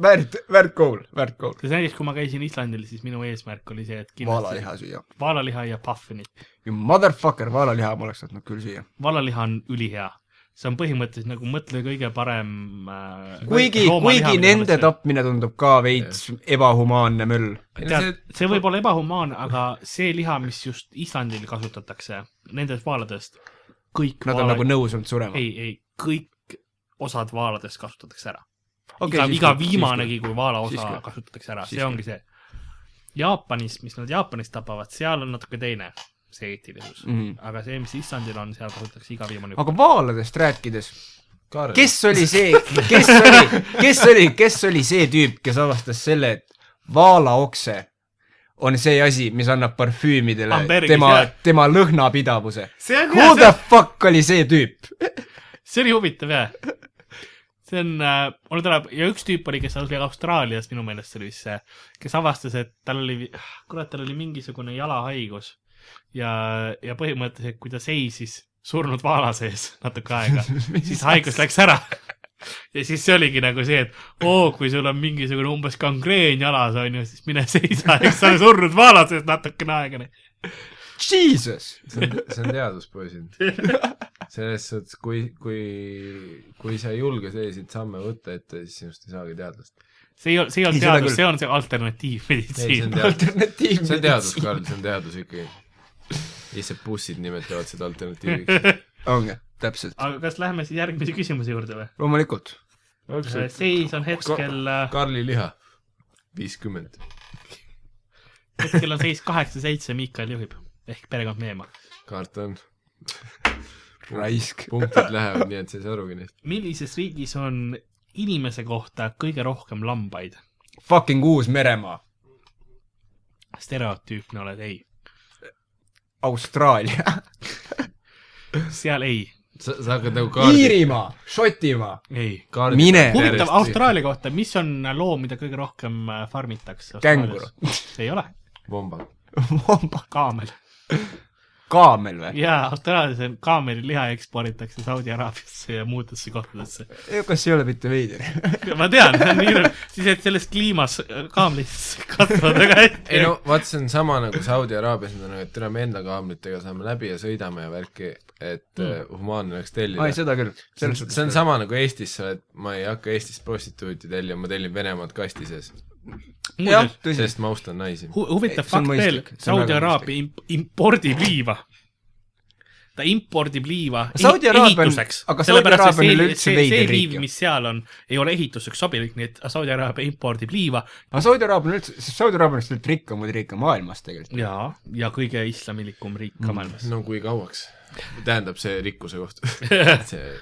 [SPEAKER 4] väärt , väärt goal , väärt goal .
[SPEAKER 2] sest näiteks , kui ma käisin Islandil , siis minu eesmärk oli see , et kindlasti
[SPEAKER 4] vaalaliha süüa .
[SPEAKER 2] vaalaliha ja puffinid .
[SPEAKER 4] You motherfucker , vaalaliha ma oleks tahtnud küll süüa .
[SPEAKER 2] vaalaliha on ülihea . see on põhimõtteliselt nagu mõtle kõige parem äh,
[SPEAKER 4] kuigi , kuigi nende . tapmine tundub ka veits ebahumaanne möll .
[SPEAKER 2] tead , see võib olla ebahumaan , aga see liha , mis just Islandil kasutatakse , nendest vaaladest , kõik
[SPEAKER 4] Nad on nagu nõus olnud surema .
[SPEAKER 2] ei , ei , kõik osad vaaladest kasutatakse ära . okay, iga , iga viimanegi , kui vaala
[SPEAKER 4] Siis
[SPEAKER 2] osa
[SPEAKER 4] küll.
[SPEAKER 2] kasutatakse ära ,
[SPEAKER 4] Siis
[SPEAKER 2] see ongi see . Jaapanis , mis nad Jaapanis tapavad , seal on natuke teine see eetilisus mm. .
[SPEAKER 4] mm. .
[SPEAKER 2] aga see , mis Islandil on , seal kasutatakse iga viimane aga... .
[SPEAKER 4] aga vaaladest rääkides ,
[SPEAKER 3] Karl ,
[SPEAKER 4] kes oli see , kes oli , kes oli , kes oli see tüüp , kes avastas selle , et vaalaokse on see asi , mis annab parfüümidele
[SPEAKER 2] Ambergis,
[SPEAKER 4] tema
[SPEAKER 2] jah. ,
[SPEAKER 4] tema lõhnapidavuse .
[SPEAKER 2] see on
[SPEAKER 4] Who the fuck oli see tüüp ?
[SPEAKER 2] see oli huvitav jah . see on äh, , mul tuleb ja üks tüüp oli , kes oli Austraalias minu meelest see oli vist see , kes avastas , et tal oli , kurat , tal oli mingisugune jalahaigus ja , ja põhimõtteliselt , kui ta seisis surnud vaala sees natuke aega , siis haigus läks ära ja siis see oligi nagu see , et oo , kui sul on mingisugune umbes kangreen jalas , on ju , siis mine seisa , eks sa oled surnud vaala sees natukene aega .
[SPEAKER 4] Jesus ,
[SPEAKER 3] see on , see on teaduspoisid . selles suhtes , kui , kui , kui sa ei julge selliseid samme võtta ette , siis sinust ei saagi teadlast .
[SPEAKER 2] see ei ole , see ei
[SPEAKER 1] Ei,
[SPEAKER 2] olnud
[SPEAKER 1] seda
[SPEAKER 2] teadus ,
[SPEAKER 1] küll.
[SPEAKER 2] see on see alternatiivmeditsiin .
[SPEAKER 4] alternatiiv .
[SPEAKER 3] see on teadus , Karl , see on teadus ikkagi . lihtsalt bussid nimetavad seda alternatiiviks .
[SPEAKER 4] ongi , täpselt .
[SPEAKER 2] aga kas lähme siis järgmise küsimuse juurde või ?
[SPEAKER 4] loomulikult .
[SPEAKER 2] seis on hetkel , äh,
[SPEAKER 3] Karli liha , viiskümmend .
[SPEAKER 2] hetkel on seis kaheksa-seitse , Miikal juhib ehk perekond Meemaa .
[SPEAKER 3] kaart on ,
[SPEAKER 4] raisk .
[SPEAKER 3] punktid lähevad , nii et sa ei saa arugi neist .
[SPEAKER 2] millises riigis on inimese kohta kõige rohkem lambaid ?
[SPEAKER 4] Fucking Uus-Meremaa .
[SPEAKER 2] stereotüüpne oled , ei .
[SPEAKER 4] Austraalia .
[SPEAKER 2] seal ei ,
[SPEAKER 3] sa , sa hakkad nagu kaardi ,
[SPEAKER 4] Iirimaa . Šotimaa .
[SPEAKER 2] ei .
[SPEAKER 3] kaardi .
[SPEAKER 4] Mine.
[SPEAKER 2] huvitav , Austraalia kohta , mis on loom , mida kõige rohkem äh, farmitakse ?
[SPEAKER 4] Känguru. .
[SPEAKER 2] ei ole ,
[SPEAKER 3] vomba .
[SPEAKER 4] vamba .
[SPEAKER 2] kaamel .
[SPEAKER 4] kaamel või ?
[SPEAKER 2] jaa , Austraalias on kaameriliha eksporditakse Saudi Araabiasse ja muudesse kohtadesse .
[SPEAKER 4] kas ei ole mitte veider ?
[SPEAKER 2] ma tean , see on nii hirm , siis et selles kliimas äh, kaamlis kasvavad väga hästi
[SPEAKER 3] ei . no vaat see on sama nagu Saudi Araabias , nad on nagu , et täna me enda kaamritega saame läbi ja sõidame ja värki , et mm. humaanne oleks tellida
[SPEAKER 4] ai ,. seda küll .
[SPEAKER 3] see on,
[SPEAKER 4] selles
[SPEAKER 3] see
[SPEAKER 4] suhtes .
[SPEAKER 3] on sama nagu Eestis , sa oled , ma ei hakka Eestis prostituuti tellima , ma tellin Venemaalt kasti sees ,
[SPEAKER 4] jah ,
[SPEAKER 2] muuseas ,
[SPEAKER 4] tõsi .
[SPEAKER 3] sest ma austan naisi .
[SPEAKER 2] hu- , huvitav
[SPEAKER 4] Ei, see on
[SPEAKER 2] fakt veel
[SPEAKER 4] mõistlik, , see on
[SPEAKER 2] Saudi
[SPEAKER 4] väga
[SPEAKER 2] Araabia imp- , impordib liiva . ta impordib liiva ehi-
[SPEAKER 4] Saudi Araabia on-
[SPEAKER 2] ehituseks.
[SPEAKER 4] aga Saudi
[SPEAKER 2] Sellepärast, et
[SPEAKER 4] Araabia on
[SPEAKER 2] see-
[SPEAKER 4] üleüldse
[SPEAKER 2] see-
[SPEAKER 4] veider
[SPEAKER 2] see
[SPEAKER 4] riik
[SPEAKER 2] liiv,
[SPEAKER 4] ju.
[SPEAKER 2] mis seal on , ei ole ehituseks sobilik , nii et Saudi Araabia impordib liiva
[SPEAKER 4] aga Saudi Araabia on üldse , Saudi Araabia on lihtsalt rikkamaid riike maailmas tegelikult .
[SPEAKER 2] ja , ja kõige islamilikum riik
[SPEAKER 4] Mm.
[SPEAKER 2] ka maailmas .
[SPEAKER 3] no kui kauaks ? tähendab see rikkuse koht . see ,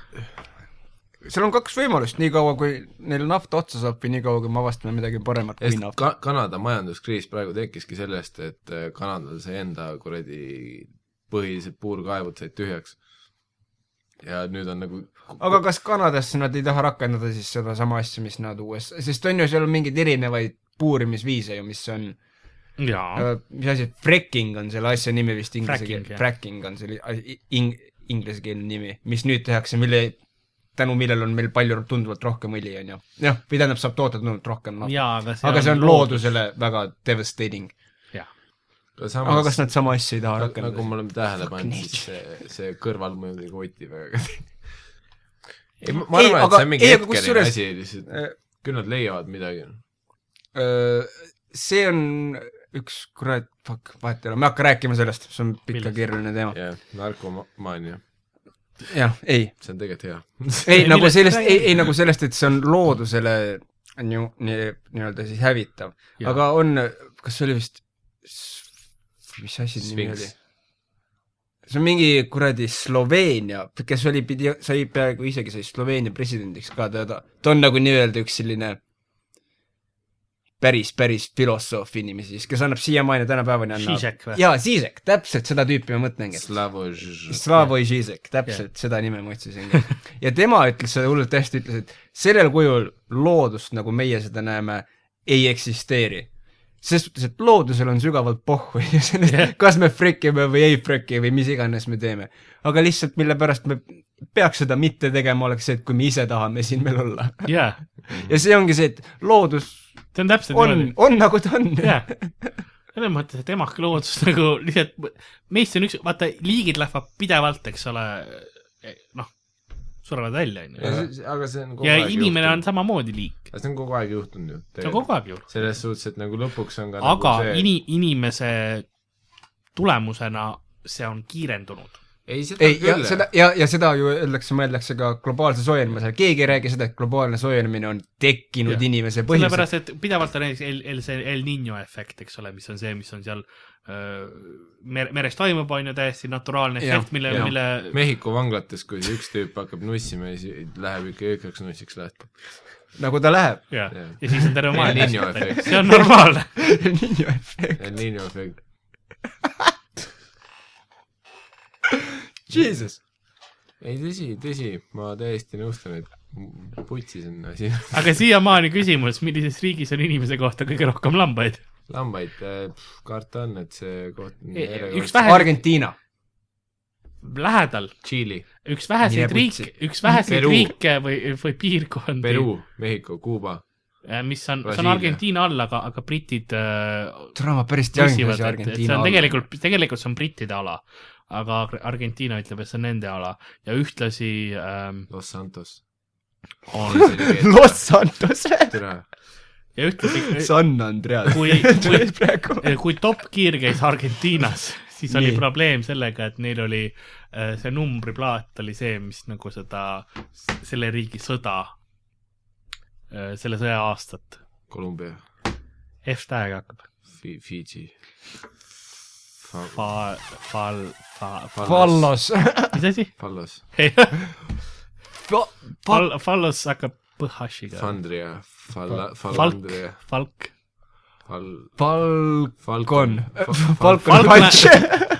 [SPEAKER 4] seal on kaks võimalust , niikaua kui neil nafta otsa saab või niikaua kui me avastame midagi paremat kui
[SPEAKER 3] sest
[SPEAKER 4] nafta .
[SPEAKER 3] ka- , Kanada majanduskriis praegu tekkiski sellest , et äh, Kanadal see enda kuradi põhilised puurkaevud said tühjaks . ja nüüd on nagu
[SPEAKER 4] aga kas Kanadasse nad ei taha rakendada siis sedasama asja , mis nad USA , sest on ju seal on mingeid erinevaid puurimisviise ju , mis on ,
[SPEAKER 2] jaa ,
[SPEAKER 4] mis asi , fracking on selle asja nimi vist inglise
[SPEAKER 2] Fracking,
[SPEAKER 4] keel ,
[SPEAKER 2] jah.
[SPEAKER 4] fracking on selle asi- ing- , inglisekeelne nimi , mis nüüd tehakse , mille , tänu millele on meil palju tunduvalt rohkem õli , on ju . jah , või tähendab , saab toota tunduvalt rohkem nafta .
[SPEAKER 2] jaa , aga see
[SPEAKER 4] aga see on loodusele väga devastating .
[SPEAKER 2] jah ,
[SPEAKER 3] aga
[SPEAKER 4] aga
[SPEAKER 3] samas
[SPEAKER 4] kas nad sama asja ei taha
[SPEAKER 3] nagu,
[SPEAKER 4] rakendada
[SPEAKER 3] nagu ? me oleme tähele
[SPEAKER 4] Fuck
[SPEAKER 3] pannud ,
[SPEAKER 4] nature.
[SPEAKER 3] siis see , see kõrvalmõjud ei koti väga . ei , ma ma
[SPEAKER 4] Ei,
[SPEAKER 3] arvan , et
[SPEAKER 4] aga-
[SPEAKER 3] see on mingi
[SPEAKER 4] ei, aga
[SPEAKER 3] hetkeline
[SPEAKER 4] kusjuures- äh,
[SPEAKER 3] asi lihtsalt ,
[SPEAKER 4] Eh,
[SPEAKER 3] küll nad leiavad midagi .
[SPEAKER 4] Öö, eh, see on üks kurat , fuck , vahet ei ole , ma ei hakka rääkima sellest , see on pikk ja
[SPEAKER 2] Millest?
[SPEAKER 4] keeruline teema .
[SPEAKER 3] jah , narkomaania ,
[SPEAKER 4] jah , ei ,
[SPEAKER 3] see on tegelikult hea .
[SPEAKER 4] ei
[SPEAKER 2] Millest
[SPEAKER 4] nagu sellest ,
[SPEAKER 2] räägid?
[SPEAKER 4] ei , ei nagu sellest , et see on loodusele on ju nii , nii-öelda siis hävitav .
[SPEAKER 2] Jaa.
[SPEAKER 4] aga on , kas see oli vist , mis asi see nimi
[SPEAKER 3] Sphinx.
[SPEAKER 4] oli ? see on mingi kuradi Sloveenia , kes oli , pidi , sai peaaegu isegi sai Sloveenia presidendiks ka teda , ta on nagu nii-öelda üks selline päris , päris filosoof inimesi , kes annab siiamaani tänapäevani
[SPEAKER 2] Žižek
[SPEAKER 4] annab
[SPEAKER 2] või? .
[SPEAKER 4] jaa , Žižek , täpselt seda tüüpi ma mõtlengi .
[SPEAKER 3] Slavoj .
[SPEAKER 4] Slavoj Žižek , täpselt yeah. seda nime ma otsisingi . ja tema ütles seda hullult hästi , ütles , et sellel kujul loodust , nagu meie seda näeme , ei eksisteeri . ses suhtes , et loodusel on sügavalt pohhu ja sellest yeah. , kas me frikime või ei friki või mis iganes me teeme . aga lihtsalt , mille pärast me peaks seda mitte tegema , oleks see , et kui me ise tahame siin veel olla .
[SPEAKER 2] jaa ,
[SPEAKER 4] ja see ongi see , et loodus
[SPEAKER 2] Mm. see on täpselt
[SPEAKER 4] on , on nagu ta on .
[SPEAKER 2] jaa , selles mõttes , et emake loodus nagu lihtsalt , meist on üks , vaata liigid lähevad pidevalt , eks ole , noh , surevad välja , onju .
[SPEAKER 3] aga see on kogu
[SPEAKER 2] ja
[SPEAKER 3] aeg
[SPEAKER 2] inimene on
[SPEAKER 3] juhtunud .
[SPEAKER 2] samamoodi liik ,
[SPEAKER 3] aga see on kogu aeg juhtunud ju .
[SPEAKER 2] see on kogu aeg ju .
[SPEAKER 3] selles suhtes , et nagu lõpuks on ka
[SPEAKER 2] aga
[SPEAKER 3] nagu see...
[SPEAKER 2] ini- , inimese tulemusena see on kiirendunud .
[SPEAKER 3] ei , seda
[SPEAKER 4] ei , ja
[SPEAKER 3] küll .
[SPEAKER 4] seda ja , ja seda ju öeldakse , mõeldakse ka globaalse soojenemisele , keegi ei räägi seda , et globaalne soojenemine on tekkinud
[SPEAKER 2] Jah.
[SPEAKER 4] ja. inimese põhjusel .
[SPEAKER 2] sellepärast , et pidevalt on näiteks El , El , see El Niño efekt , eks ole , mis on see , mis on seal öö, mere , meres toimub , on ju , täiesti naturaalne
[SPEAKER 4] Jah,
[SPEAKER 2] efekt , mille ,
[SPEAKER 3] jah.
[SPEAKER 2] mille
[SPEAKER 3] Mehhiko vanglates , kui see üks tüüp hakkab nussima ja siis läheb ikka jõhkraks nussiks lahti .
[SPEAKER 4] nagu ta läheb .
[SPEAKER 2] ja
[SPEAKER 3] Jah. ,
[SPEAKER 2] ja siis on terve maailm
[SPEAKER 3] Niño efekt.
[SPEAKER 2] see on normaalne .
[SPEAKER 4] Niño efekt ,
[SPEAKER 3] El Niño efekt .
[SPEAKER 4] jesus .
[SPEAKER 3] ei , tõsi , tõsi , ma täiesti nõustun , et putsis on asi .
[SPEAKER 2] aga siiamaani küsimus , millises riigis on inimese kohta kõige rohkem lambaid ?
[SPEAKER 3] lambaid , karta on , et see koht on
[SPEAKER 2] Ei, üks
[SPEAKER 3] järjekordselt
[SPEAKER 2] vähe-
[SPEAKER 4] Argentiina .
[SPEAKER 2] lähedal ,
[SPEAKER 3] Tšiili ,
[SPEAKER 2] üks väheseid
[SPEAKER 4] Mine
[SPEAKER 2] riik
[SPEAKER 4] putsi. ,
[SPEAKER 2] üks väheseid
[SPEAKER 3] Peru.
[SPEAKER 2] riike või , või piirkondi ,
[SPEAKER 3] Peruu , Mehhiko , Kuuba .
[SPEAKER 2] mis on , see on
[SPEAKER 3] Brasiilia.
[SPEAKER 2] Argentiina all , aga , aga britid äh,
[SPEAKER 4] tule , ma päris tean ,
[SPEAKER 2] küsivad ,
[SPEAKER 4] kuidas
[SPEAKER 2] et , et see
[SPEAKER 4] Argentiina
[SPEAKER 2] on . tegelikult , tegelikult see on brittide ala , aga Argentiina ütleb , et see on nende ala ja ühtlasi ähm,
[SPEAKER 3] Los Santos .
[SPEAKER 2] on
[SPEAKER 4] Los Santos .
[SPEAKER 3] türa ,
[SPEAKER 2] ja ühtlasi ,
[SPEAKER 4] San Andreas
[SPEAKER 2] Kui- kui-
[SPEAKER 4] tuleb praegu .
[SPEAKER 2] Eh, kui Top Gear käis Argentiinas , siis oli
[SPEAKER 4] Nii.
[SPEAKER 2] probleem sellega , et neil oli äh, see numbriplaat oli see , mis nagu seda , selle riigi sõda , selle sõja aastat ,
[SPEAKER 3] Kolumbia ,
[SPEAKER 2] F tähega hakkab .
[SPEAKER 3] Fidži .
[SPEAKER 2] Fa- , fal- , fa- ,
[SPEAKER 3] Fall-
[SPEAKER 2] fal- ,
[SPEAKER 4] Fallos .
[SPEAKER 2] mis asi ?
[SPEAKER 3] Fallas ,
[SPEAKER 2] Fal- , fallos hakkab põhašiga .
[SPEAKER 3] Fandria , Falla ,
[SPEAKER 2] Falk
[SPEAKER 3] Fallandria ,,
[SPEAKER 2] falk .
[SPEAKER 3] Fal- ,
[SPEAKER 4] Falcon .
[SPEAKER 3] Falcon .
[SPEAKER 4] Äh, Falcon
[SPEAKER 2] Falcon-
[SPEAKER 4] Punch .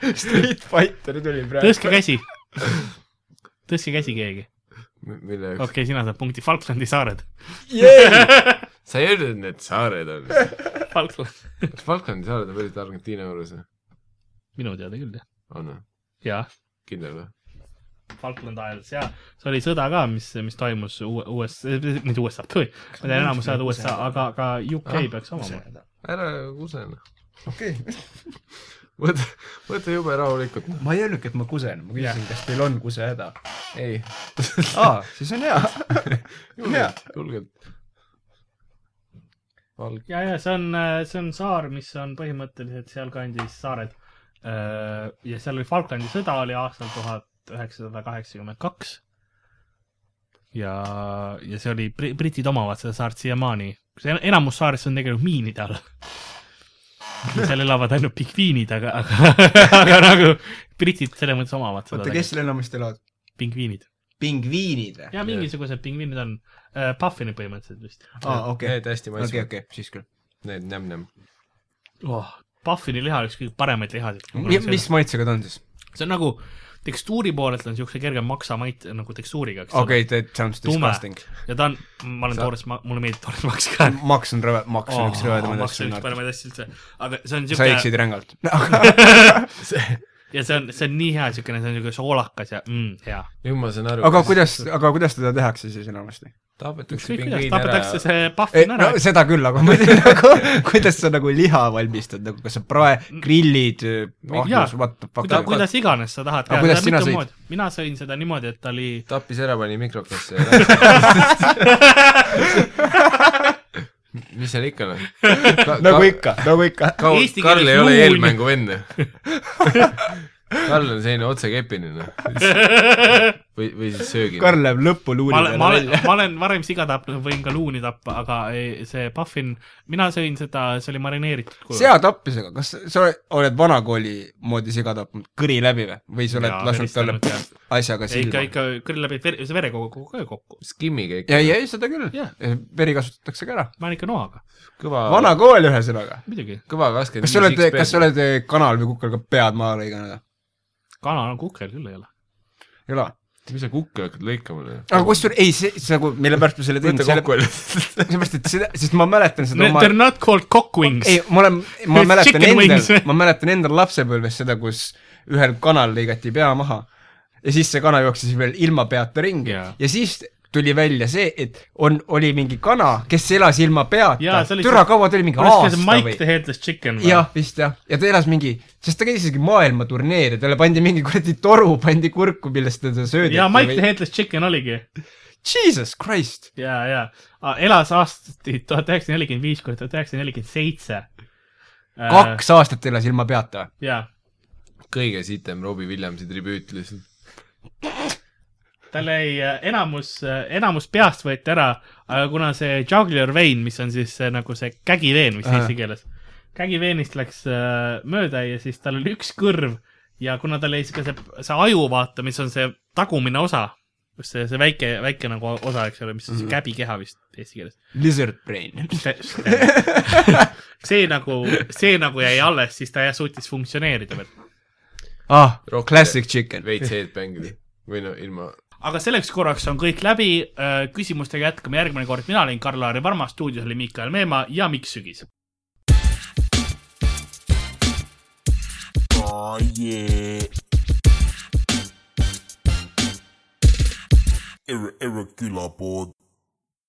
[SPEAKER 4] Street Fighter tuli praegu .
[SPEAKER 2] tõstke käsi . tõstke käsi keegi .
[SPEAKER 3] mille
[SPEAKER 2] okei
[SPEAKER 3] jaoks okay. ?
[SPEAKER 2] okay, , sina saad punkti , Falklandi saared .
[SPEAKER 3] sa ei öelnud , et need saared on .
[SPEAKER 2] Falkland ,
[SPEAKER 3] kas Falconi saared on päriselt Argentiina juures või ?
[SPEAKER 2] minu teada küll jah .
[SPEAKER 3] on või ?
[SPEAKER 2] jaa ,
[SPEAKER 3] kindel või ?
[SPEAKER 2] Falkland Isles ja see oli sõda ka , mis , mis toimus U- USA , mitte USA , ma tean enamus ajad USA , aga , aga UK ah,
[SPEAKER 3] Ah,
[SPEAKER 2] peaks samamoodi .
[SPEAKER 3] ära kusen .
[SPEAKER 4] okei ,
[SPEAKER 3] võta , võta jube rahulikult .
[SPEAKER 4] ma ei öelnudki , et ma kusen , ma küsisin , kas teil on kusehäda .
[SPEAKER 3] ei ,
[SPEAKER 4] aa , siis on hea . Jaa.
[SPEAKER 3] julgelt , julgelt . Falk- ,
[SPEAKER 2] ja , ja see on , see on saar , mis on põhimõtteliselt sealkandis saared . ja seal oli Falklandi sõda oli aastal tuhat üheksasada kaheksakümmend kaks . ja , ja see oli , britid omavad seda saart siiamaani , see en- enamus saarest on tegelikult miinide all . seal elavad ainult pingviinid , aga , aga , aga nagu britid selles mõttes omavad seda
[SPEAKER 4] oota , kes seal enamasti elavad ?
[SPEAKER 2] tegelikult. pingviinid .
[SPEAKER 4] pingviinid või ?
[SPEAKER 2] ja mingisugused pingviinid on , Puffini põhimõtteliselt vist
[SPEAKER 4] aa , okei
[SPEAKER 3] Need . hästi
[SPEAKER 4] okei ,
[SPEAKER 3] maitsvad ,
[SPEAKER 4] okei , siis küll .
[SPEAKER 3] need nämm-nämm .
[SPEAKER 2] oh, . Puffini liha on üks kõige paremaid lihasid .
[SPEAKER 4] mis maitsega ta on siis ?
[SPEAKER 2] see on nagu tekstuuri poolelt on siukse kerge maksamait nagu tekstuuriga , eks
[SPEAKER 4] okei , that sounds
[SPEAKER 2] Tume.
[SPEAKER 4] disgusting .
[SPEAKER 2] ole . ja ta on , ma olen
[SPEAKER 3] Sa-
[SPEAKER 2] Sa... toores , mulle meeldib toores maks ka .
[SPEAKER 4] maks on rõve , maks on üks rõvedamaid
[SPEAKER 2] maks on üks
[SPEAKER 4] asju .
[SPEAKER 2] paremaid asju üldse , aga see on
[SPEAKER 4] sa
[SPEAKER 2] siuke
[SPEAKER 4] eksid rängalt .
[SPEAKER 2] ja see on , see on nii hea siukene , see on siuke soolakas ja mm, hea .
[SPEAKER 3] nüüd ma saan aru .
[SPEAKER 4] aga ? kuidas , aga kuidas teda tehakse siis enamasti ?
[SPEAKER 3] tapetakse
[SPEAKER 2] ükskõik kuidas
[SPEAKER 3] pingviin ära
[SPEAKER 2] tapetakse see
[SPEAKER 4] ei ,
[SPEAKER 2] Puffin ära
[SPEAKER 4] Eh, no . seda küll , aga ma ei tea nagu , kuidas sa nagu liha valmistad , nagu kas sa prae , grillid ,
[SPEAKER 2] jaa.
[SPEAKER 4] ahnus , what the fuck nagu
[SPEAKER 2] Kuida, . kuidas iganes sa tahad
[SPEAKER 4] Aga kuidas sina sõid? ?
[SPEAKER 2] mina sõin seda niimoodi , et ta oli ,
[SPEAKER 3] tappis ära , pani mikrokasse ja läks . mis seal ikka noh Ka,
[SPEAKER 4] nagu . ikka , nagu ikka .
[SPEAKER 3] Ka,
[SPEAKER 2] Eesti
[SPEAKER 3] Karl ei
[SPEAKER 2] keeles
[SPEAKER 3] ole
[SPEAKER 2] luun.
[SPEAKER 3] eelmängu vend . Karl on selline otsekepine noh . või , või siis söögine .
[SPEAKER 4] Karl läheb lõppu luuri
[SPEAKER 2] ma olen ,
[SPEAKER 4] peale
[SPEAKER 2] ma olen
[SPEAKER 4] välja .,
[SPEAKER 2] ma olen varem siga tapnud , võin ka luuni tappa , aga ei, see Puffin , mina sõin seda , see oli marineeritud kujul .
[SPEAKER 4] seatappisega , kas sa oled- oled vanakooli moodi siga tapnud kõri läbi või , või sa oled
[SPEAKER 2] Jaa,
[SPEAKER 4] lasknud talle
[SPEAKER 2] veristanud,
[SPEAKER 4] asjaga
[SPEAKER 2] ja ikka ,
[SPEAKER 4] silma ?
[SPEAKER 2] ikka kõrv läbib ver- , see verega kogu aeg kokku .
[SPEAKER 3] skimmiga ikka .
[SPEAKER 4] ja , ja ei , seda küll
[SPEAKER 2] Jah. ,
[SPEAKER 4] veri kasutatakse ka ära .
[SPEAKER 2] ma olen ikka noaga ,
[SPEAKER 3] kõva ,
[SPEAKER 4] vanakool ühesõnaga .
[SPEAKER 2] muidugi .
[SPEAKER 3] kõva kakskümmend
[SPEAKER 4] kas sa oled , kas sa ? oled eh, kanal või kukal ka pead maha lõiganud või ?
[SPEAKER 2] kana on kukel küll ei ole .
[SPEAKER 4] ei ole ?
[SPEAKER 3] mis sa kukke hakkad lõikama noh ?
[SPEAKER 4] aga kusjuures , ei see , see nagu , mille pärast ma selle tegin ,
[SPEAKER 3] võta
[SPEAKER 4] selle ,
[SPEAKER 3] kokku lihtsalt .
[SPEAKER 4] seepärast , et seda , sest ma mäletan seda
[SPEAKER 2] Need ,
[SPEAKER 4] oma
[SPEAKER 2] they are not called cock wings .
[SPEAKER 4] ei , ma olen , ma mäletan
[SPEAKER 2] Chicken wings
[SPEAKER 4] endal
[SPEAKER 2] või? ,
[SPEAKER 4] ma mäletan endal lapsepõlves seda , kus ühel kanal lõigati pea maha ja siis see kana jooksis veel ilma peata ringi
[SPEAKER 2] Jaa.
[SPEAKER 4] ja siis tuli välja see , et on , oli mingi kana , kes elas ilma peata
[SPEAKER 2] Jaa, see , oli
[SPEAKER 4] türa
[SPEAKER 2] see-
[SPEAKER 4] kaua ta oli mingi
[SPEAKER 2] kuidas see
[SPEAKER 4] aasta
[SPEAKER 2] Mike
[SPEAKER 4] või
[SPEAKER 2] the Headless Chicken või ?
[SPEAKER 4] jah , vist jah , ja ta elas mingi , sest ta käis isegi maailmaturneer ja talle pandi mingi kuradi toru pandi kurku , millest teda söödeti
[SPEAKER 2] ja Mike the Headless Chicken oligi .
[SPEAKER 4] Jesus Christ ,
[SPEAKER 2] ja , ja elas aastati tuhat üheksasada nelikümmend viis kuni tuhat üheksasada nelikümmend seitse . Äh,
[SPEAKER 4] kaks aastat elas ilma peata või ?
[SPEAKER 2] ja ,
[SPEAKER 3] kõige sitem Robbie Williamsi tribüüt lihtsalt .
[SPEAKER 2] tal jäi äh, enamus , enamus peast võeti ära , aga kuna see jugular vein , mis on siis see, nagu see kägiveen , mis
[SPEAKER 4] Ahah.
[SPEAKER 2] eesti keeles , kägiveenist läks äh, mööda ja siis tal oli üks kõrv ja kuna tal jäi ka see , see aju , vaata , mis on see tagumine osa , see , see väike , väike nagu osa , eks ole , mis on see käbikeha vist eesti keeles .
[SPEAKER 4] Lizard brain .
[SPEAKER 2] see nagu , see nagu jäi alles , siis ta jah suutis funktsioneerida veel .
[SPEAKER 4] ah
[SPEAKER 3] Rock- ,
[SPEAKER 4] classic chicken .
[SPEAKER 3] veits headbang'id või no ilma
[SPEAKER 2] aga selleks korraks on kõik läbi , küsimustega jätkame järgmine kord , mina olin Karl-Laari Varma , stuudios oli Miikael Meemaa ja Mikk Sügis .
[SPEAKER 1] Oh yeah. Ir- irregular board.